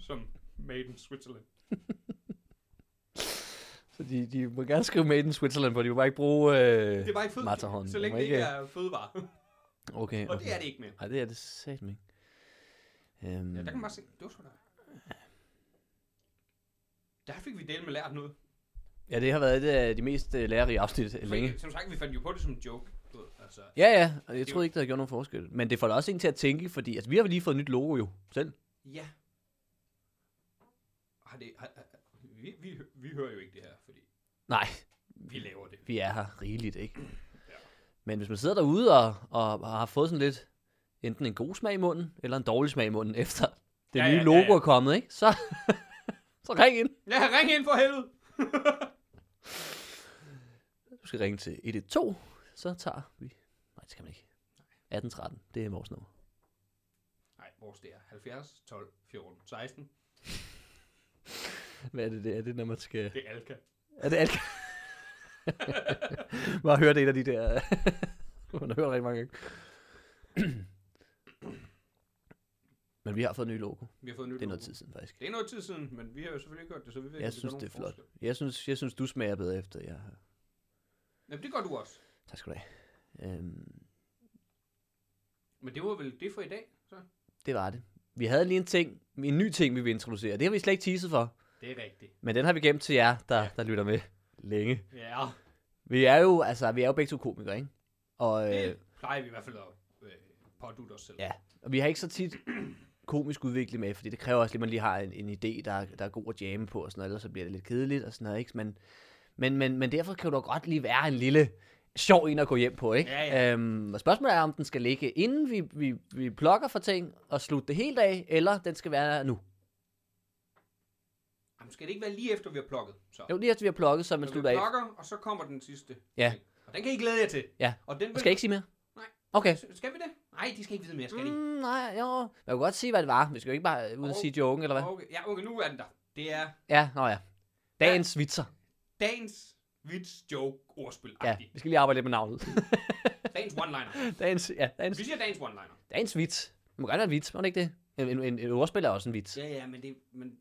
Speaker 5: som Made in Switzerland.
Speaker 3: Så de, de må gerne skrive Made in Switzerland, for de må bare ikke bruge... Øh...
Speaker 5: Det var ikke fødevare,
Speaker 3: Matterhorn.
Speaker 5: så
Speaker 3: Det må
Speaker 5: længe det
Speaker 3: ikke-
Speaker 5: ikke er
Speaker 3: (laughs)
Speaker 5: fødevare.
Speaker 3: Okay, okay.
Speaker 5: Og det er det ikke mere.
Speaker 3: Nej, det er det satme ikke. Øhm,
Speaker 5: Ja, der kan man bare se, det var sgu da. Der fik vi delt med lært noget.
Speaker 3: ja, det har været et af de mest øh, lærerige afsnit øh, længe.
Speaker 5: Fordi, som sagt, vi fandt jo på det som en joke. du ved, Altså,
Speaker 3: Ja, ja, og jeg
Speaker 5: Det
Speaker 3: troede ikke, der havde gjort nogen forskel. Men det får da også en til at tænke, fordi altså, vi har vel lige fået et nyt logo jo selv.
Speaker 5: Ja. Har det, har, har, vi, vi, vi hører jo ikke det her, fordi
Speaker 3: Nej,
Speaker 5: vi laver det.
Speaker 3: vi er her rigeligt, ikke?
Speaker 5: Ja.
Speaker 3: Men hvis man sidder derude og, og, og har fået sådan lidt enten en god smag i munden, eller en dårlig smag i munden efter det
Speaker 5: Ja,
Speaker 3: nye
Speaker 5: ja, ja,
Speaker 3: logo
Speaker 5: ja.
Speaker 3: er kommet, ikke? Så, (laughs) så ring ind.
Speaker 5: Ja, ring ind for helvede!
Speaker 3: Du skal ringe til 112, så tager vi... Nej, det skal man ikke. 1813, det er vores nummer.
Speaker 5: Nej, vores det er 70, 12, 14, 16.
Speaker 3: Hvad er det, det er? Det er, når man skal...
Speaker 5: Det er
Speaker 3: (laughs)
Speaker 5: Alka.
Speaker 3: Er det alt? (laughs) Bare høre det et af de der... (laughs) man har hørt rigtig mange gange. (clears throat) Men vi har fået en ny logo.
Speaker 5: Vi har fået nyt
Speaker 3: Det er noget
Speaker 5: logo.
Speaker 3: tid siden, faktisk.
Speaker 5: Det er noget tid siden, men vi har jo selvfølgelig ikke gjort det, så vi ved,
Speaker 3: Jeg
Speaker 5: om gør
Speaker 3: synes, det
Speaker 5: nogen
Speaker 3: er flot.
Speaker 5: forskel.
Speaker 3: Jeg synes, jeg synes du smager bedre efter, jeg har...
Speaker 5: Jamen, det gør du også.
Speaker 3: Tak skal du have. Øhm,
Speaker 5: Men det var vel det for i dag, så?
Speaker 3: det var det. Vi havde lige en ting, en ny ting, vi vil introducere. Det har vi slet ikke teaset for.
Speaker 5: Det er rigtigt.
Speaker 3: Men den har vi gemt til jer, der, der lytter med længe.
Speaker 5: Ja,
Speaker 3: Vi er jo, altså, vi er jo begge to komikere, ikke? Og, øh,
Speaker 5: det plejer vi i hvert fald at øh, pådute os selv.
Speaker 3: Ja, og vi har ikke så tit komisk udvikling med, fordi det kræver også, at man lige har en, en idé, der, er- der er god at jamme på, og sådan noget, ellers så bliver det lidt kedeligt og sådan noget, ikke? Men, men, men, men derfor kan du da godt lige være en lille sjov en at gå hjem på, ikke?
Speaker 5: Ja, ja.
Speaker 3: Øhm, og spørgsmålet er, om den skal ligge, inden vi, vi, vi plukker for ting og slutter det helt af, eller den skal være nu.
Speaker 5: Jamen, skal det ikke være lige efter, vi har plukket? Så.
Speaker 3: Jo, lige efter vi har plukket, så man
Speaker 5: så vi
Speaker 3: slutter af.
Speaker 5: plukker, og så kommer den sidste.
Speaker 3: Ja.
Speaker 5: Og den kan I glæde jer til.
Speaker 3: Ja.
Speaker 5: Og den vil...
Speaker 3: Jeg skal ikke sige mere?
Speaker 5: Nej.
Speaker 3: Okay.
Speaker 5: Skal vi det? Nej, de skal ikke vide mere, skal de?
Speaker 3: Mm, nej, jo. Man kan godt sige, hvad det var. Vi skal jo ikke bare øh, uden at
Speaker 5: Og-
Speaker 3: sige joken, eller hvad?
Speaker 5: Okay, ja, okay, nu er den der. Det er
Speaker 3: Ja, nå ja. Dagens vitser.
Speaker 5: dagens vits, joke, ordspil
Speaker 3: Ja,
Speaker 5: ja.
Speaker 3: vi skal lige arbejde lidt med navnet. (laughs)
Speaker 5: Dagens one-liner.
Speaker 3: dagens, ja, dagens
Speaker 5: Vi siger dagens one-liner.
Speaker 3: Dagens vits. Det må gerne være en vits, må det ikke det? En, en, en, en ordspil er også en vits.
Speaker 5: Ja, ja, men, det, men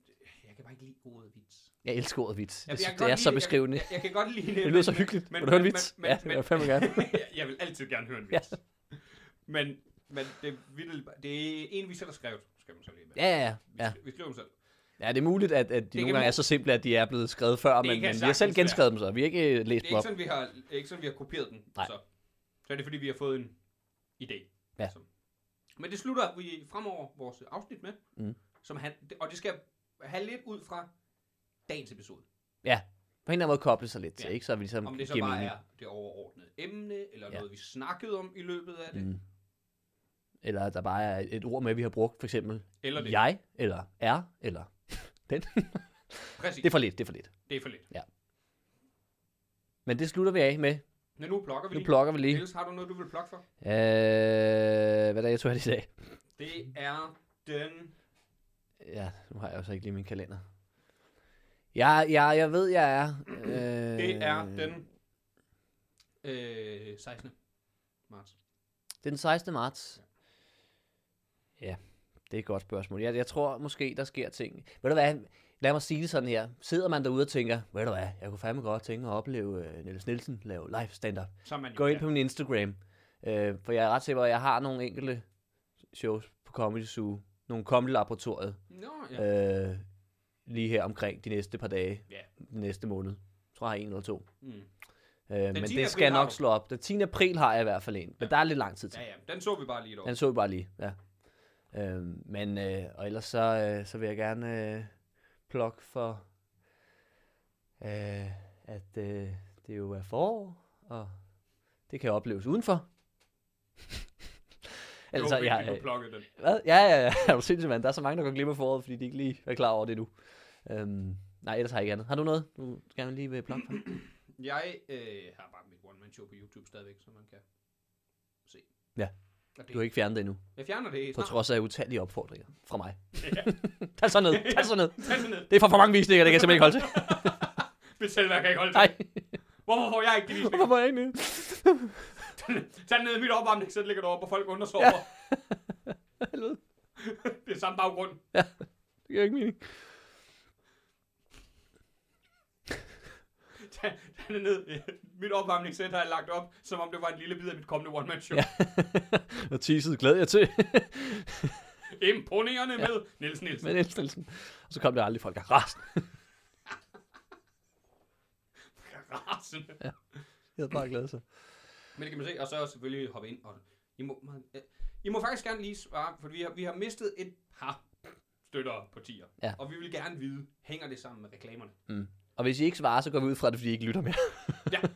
Speaker 5: jeg kan bare ikke lide ordet vits.
Speaker 3: Jeg elsker ordet vits.
Speaker 5: Ja,
Speaker 3: Jeg synes,
Speaker 5: jeg kan
Speaker 3: det
Speaker 5: godt
Speaker 3: er så
Speaker 5: lide- (laughs)
Speaker 3: beskrivende.
Speaker 5: Jeg, jeg kan godt lide det.
Speaker 3: Det lyder
Speaker 5: men-
Speaker 3: så
Speaker 5: men-
Speaker 3: hyggeligt. Vil du høre en vits? Ja, det vil jeg fandme
Speaker 5: (laughs)
Speaker 3: gerne.
Speaker 5: jeg vil altid gerne høre en vits. Men, men det, er vildt bare- det er en, vi selv har skrevet, skal man så lige med.
Speaker 3: Ja, ja,
Speaker 5: Vi,
Speaker 3: ja.
Speaker 5: vi skriver dem selv.
Speaker 3: Ja, det er muligt, at, at
Speaker 5: kan
Speaker 3: de nogle gange er
Speaker 5: mu-
Speaker 3: så simple, at de er blevet skrevet før,
Speaker 5: kan
Speaker 3: men, men vi har
Speaker 5: sagtens
Speaker 3: selv
Speaker 5: være.
Speaker 3: genskrevet dem så. Vi har ikke øh, læst
Speaker 5: Det er
Speaker 3: dem
Speaker 5: ikke
Speaker 3: op.
Speaker 5: sådan, vi har, det er ikke sådan, vi har kopieret den.
Speaker 3: Nej.
Speaker 5: Så. så er det, fordi vi har fået en idé.
Speaker 3: Ja.
Speaker 5: Så. Men det slutter vi fremover vores afsnit med.
Speaker 3: Mm.
Speaker 5: Som han, og det skal have lidt ud fra dagens episode.
Speaker 3: Ja, på en eller anden måde koble sig lidt til,
Speaker 5: Ja.
Speaker 3: ikke? Så vi ligesom
Speaker 5: Om det så
Speaker 3: giver
Speaker 5: bare
Speaker 3: mening.
Speaker 5: er det overordnede emne, eller
Speaker 3: Ja.
Speaker 5: ja. noget, vi snakkede om i løbet af det. Mm.
Speaker 3: Mm. Eller at der bare er et ord med, vi har brugt, for eksempel
Speaker 5: Eller det.
Speaker 3: jeg, eller er, eller den.
Speaker 5: Præcis.
Speaker 3: det er for lidt, det er for lidt.
Speaker 5: Det er for lidt.
Speaker 3: Men det slutter vi af med
Speaker 5: Men nu plukker vi
Speaker 3: Nu
Speaker 5: lige.
Speaker 3: plukker vi lige.
Speaker 5: Niels, har du noget, du vil plukke for?
Speaker 3: Øh, hvad er det, jeg tror, jeg lige sagde?
Speaker 5: Det er den...
Speaker 3: Ja, nu har jeg jo så ikke lige min kalender. Jeg, jeg, jeg ved, jeg er... Øh,
Speaker 5: Det er den... Øh, 16. marts.
Speaker 3: Det er den 16. marts. Ja, det er et godt spørgsmål. Jeg, jeg tror måske, der sker ting. Ved du hvad, lad mig sige det sådan her. Sidder man derude og tænker, ved du hvad, jeg kunne fandme godt tænke at opleve uh, Niels Nielsen lave live stand-up.
Speaker 5: Så er man jo
Speaker 3: Gå ind
Speaker 5: der.
Speaker 3: på min Instagram, øh, for jeg er ret sikker på, at jeg har nogle enkelte shows på Comedy Zoo, nogle Comedy Laboratoriet,
Speaker 5: Nå, ja.
Speaker 3: ja. øh, lige her omkring de næste par dage,
Speaker 5: Ja.
Speaker 3: den næste måned. Jeg tror, jeg har en eller to.
Speaker 5: Mm.
Speaker 3: Øh, men
Speaker 5: 10.
Speaker 3: det
Speaker 5: april
Speaker 3: skal jeg
Speaker 5: har
Speaker 3: nok
Speaker 5: du.
Speaker 3: slå op. Den 10. april har jeg i hvert fald en, men
Speaker 5: Ja.
Speaker 3: der er lidt lang tid til.
Speaker 5: ja, ja. Den så vi bare lige
Speaker 3: Den
Speaker 5: derovre.
Speaker 3: så vi bare lige, ja. Øhm, men øh, og ellers så, øh, så vil jeg gerne øh, plukke for, øh, at øh, det jo er forår, og det kan opleves udenfor. (laughs) altså,
Speaker 5: det var vigtigt,
Speaker 3: jeg,
Speaker 5: du
Speaker 3: øh,
Speaker 5: plukkede den. (clears throat)
Speaker 3: hvad? Ja, ja, (laughs) ja, er du sindssygt, mand. Der er så mange, der går glip af foråret, fordi de ikke lige er klar over det nu. Øhm, nej, ellers har jeg ikke andet. Har du noget, du gerne lige vil plukke for?
Speaker 5: Jeg øh, har bare mit one-man-show på YouTube stadigvæk, så man kan se.
Speaker 3: Ja.
Speaker 5: Og det,
Speaker 3: Du har ikke fjernet det endnu,
Speaker 5: Jeg fjerner det
Speaker 3: på
Speaker 5: snart.
Speaker 3: trods af utallige opfordringer fra mig.
Speaker 5: Ja.
Speaker 3: (laughs) Tag så ned, tag så ned.
Speaker 5: Tag sådan ned.
Speaker 3: Det er for for mange visninger, det kan jeg simpelthen ikke holde til.
Speaker 5: Mit selvværk kan ikke holde til.
Speaker 3: Nej,
Speaker 5: Hvorfor får jeg ikke de visninger?
Speaker 3: (laughs) hvorfor er jeg ikke nede?
Speaker 5: Tag den ned i mit opvarmning, så ligger det over, hvor folk undersover. Ja.
Speaker 3: (laughs) Helvede.
Speaker 5: det er samme baggrund.
Speaker 3: Det giver ikke mening.
Speaker 5: Tag, tag den ned. Mit opvarmningssæt har jeg lagt op, som om det var en lille bid af mit kommende one-man-show.
Speaker 3: Ja. Og teaset glæder jeg til. (laughs)
Speaker 5: Imponerende med Niels Nielsen.
Speaker 3: Men Niels Nielsen. Og så kom der aldrig folk af resten.
Speaker 5: Rasende.
Speaker 3: Jeg havde bare glædet sig.
Speaker 5: Men det kan man se, og så selvfølgelig hoppe ind. Og I, må, øh, I må faktisk gerne lige svare, for vi har, vi har mistet et par støtter på tier.
Speaker 3: Ja.
Speaker 5: Og vi vil gerne vide, hænger det sammen med reklamerne?
Speaker 3: Og hvis I ikke svarer, så går vi ud fra det, fordi I ikke lytter mere. (laughs)
Speaker 5: Ja, 100%.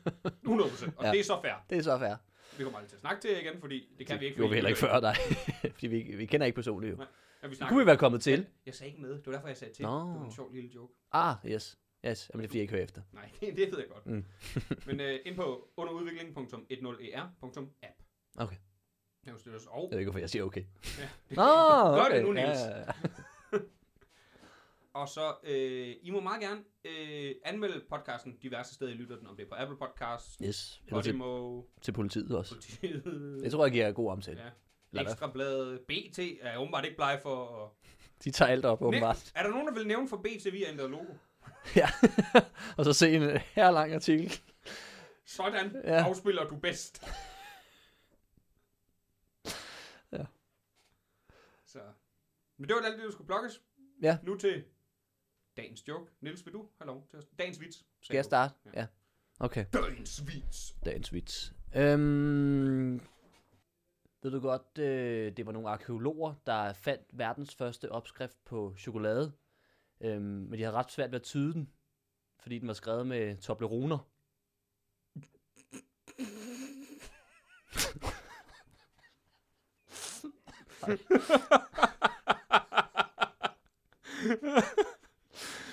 Speaker 5: Og ja.
Speaker 3: Ja.
Speaker 5: det er så fair.
Speaker 3: Det er så fair.
Speaker 5: Vi kommer aldrig til at snakke til jer igen, fordi det kan vi ikke.
Speaker 3: Det gjorde vi heller ikke
Speaker 5: fordi-
Speaker 3: før, nej. (laughs) fordi vi, vi kender ikke personligt jo.
Speaker 5: Nej, Ja, vi
Speaker 3: Det
Speaker 5: snakker.
Speaker 3: kunne vi være kommet til.
Speaker 5: Jeg sagde ikke med. Det var derfor, jeg sagde til.
Speaker 3: Nå.
Speaker 5: Det var en sjov lille joke.
Speaker 3: Ah, yes. Yes, Jamen, det er fordi, jeg ikke hører efter.
Speaker 5: Nej, (laughs) det ved jeg godt.
Speaker 3: Mm.
Speaker 5: Men øh, ind på e underudvikling.10er.app.
Speaker 3: Okay.
Speaker 5: Kan du støtte os? Og,
Speaker 3: Jeg ved ikke, hvorfor jeg siger okay.
Speaker 5: ja, det,
Speaker 3: Nå, okay.
Speaker 5: Gør det nu, Niels.
Speaker 3: Ja, ja, ja.
Speaker 5: Og så, øh, I må meget gerne øh, anmelde podcasten diverse steder, I lytter den, om det er på Apple Podcasts,
Speaker 3: Yes, eller til,
Speaker 5: Podimo,
Speaker 3: til politiet også.
Speaker 5: politiet,
Speaker 3: Det tror jeg giver god omtale.
Speaker 5: ja,
Speaker 3: Eller hvad?
Speaker 5: Ekstrabladet, BT er jeg åbenbart ikke bleg for. Og...
Speaker 3: De tager alt op, åbenbart.
Speaker 5: Næ- er der nogen, der vil nævne for BT, vi har ændret logo?
Speaker 3: Ja. og så se en øh, her lang artikel.
Speaker 5: Sådan ja.
Speaker 3: Ja.
Speaker 5: afspiller du bedst.
Speaker 3: Ja.
Speaker 5: Så. Men det var alt det, du skulle blokkes.
Speaker 3: Ja.
Speaker 5: Nu til dagens joke. Niels, vil du have lov til at... Dagens vits.
Speaker 3: Skal jeg starte? Ja. Okay.
Speaker 5: Dagens vits.
Speaker 3: Dagens vits. Øhm, ved du godt, øh, det var nogle arkeologer, der fandt verdens første opskrift på chokolade. Øhm, men de havde ret svært ved at tyde den, fordi den var skrevet med Tobleroner.
Speaker 5: (laughs)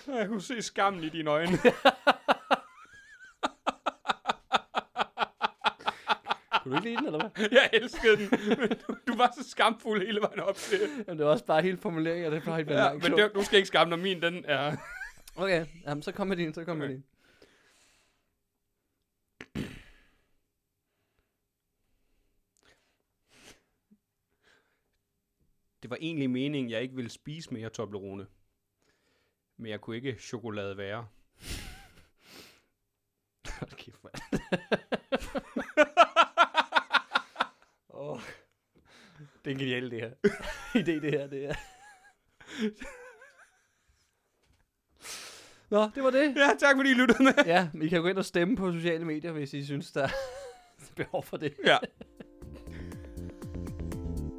Speaker 5: Jeg kunne se skammen i dine øjne. (laughs)
Speaker 3: Kunne du ikke lide den, eller hvad?
Speaker 5: Jeg elskede den. men du- Du var så skamfuld hele vejen op til.
Speaker 3: Jamen, det var også bare hele formuleringen, og det plejer ikke
Speaker 5: Ja, men det, du skal ikke skamme, når min den er...
Speaker 3: Okay, jamen, så kom med din, så kom
Speaker 5: Okay.
Speaker 3: med din.
Speaker 5: Det var egentlig meningen, jeg ikke ville spise mere Toblerone. Men jeg kunne ikke chokolade være. (laughs)
Speaker 3: Hold kæft, mand. oh. Det er genialt, det her. (laughs) Idé, det her, det her. Nå, det var det.
Speaker 5: (laughs) Ja, tak fordi I lyttede med.
Speaker 3: (laughs) Ja, I kan gå ind og stemme på sociale medier, hvis I synes, der er (laughs) behov for det.
Speaker 5: Ja.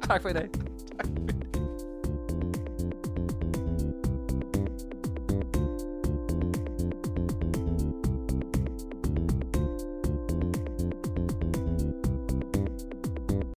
Speaker 3: Tak for i dag.
Speaker 5: Tak.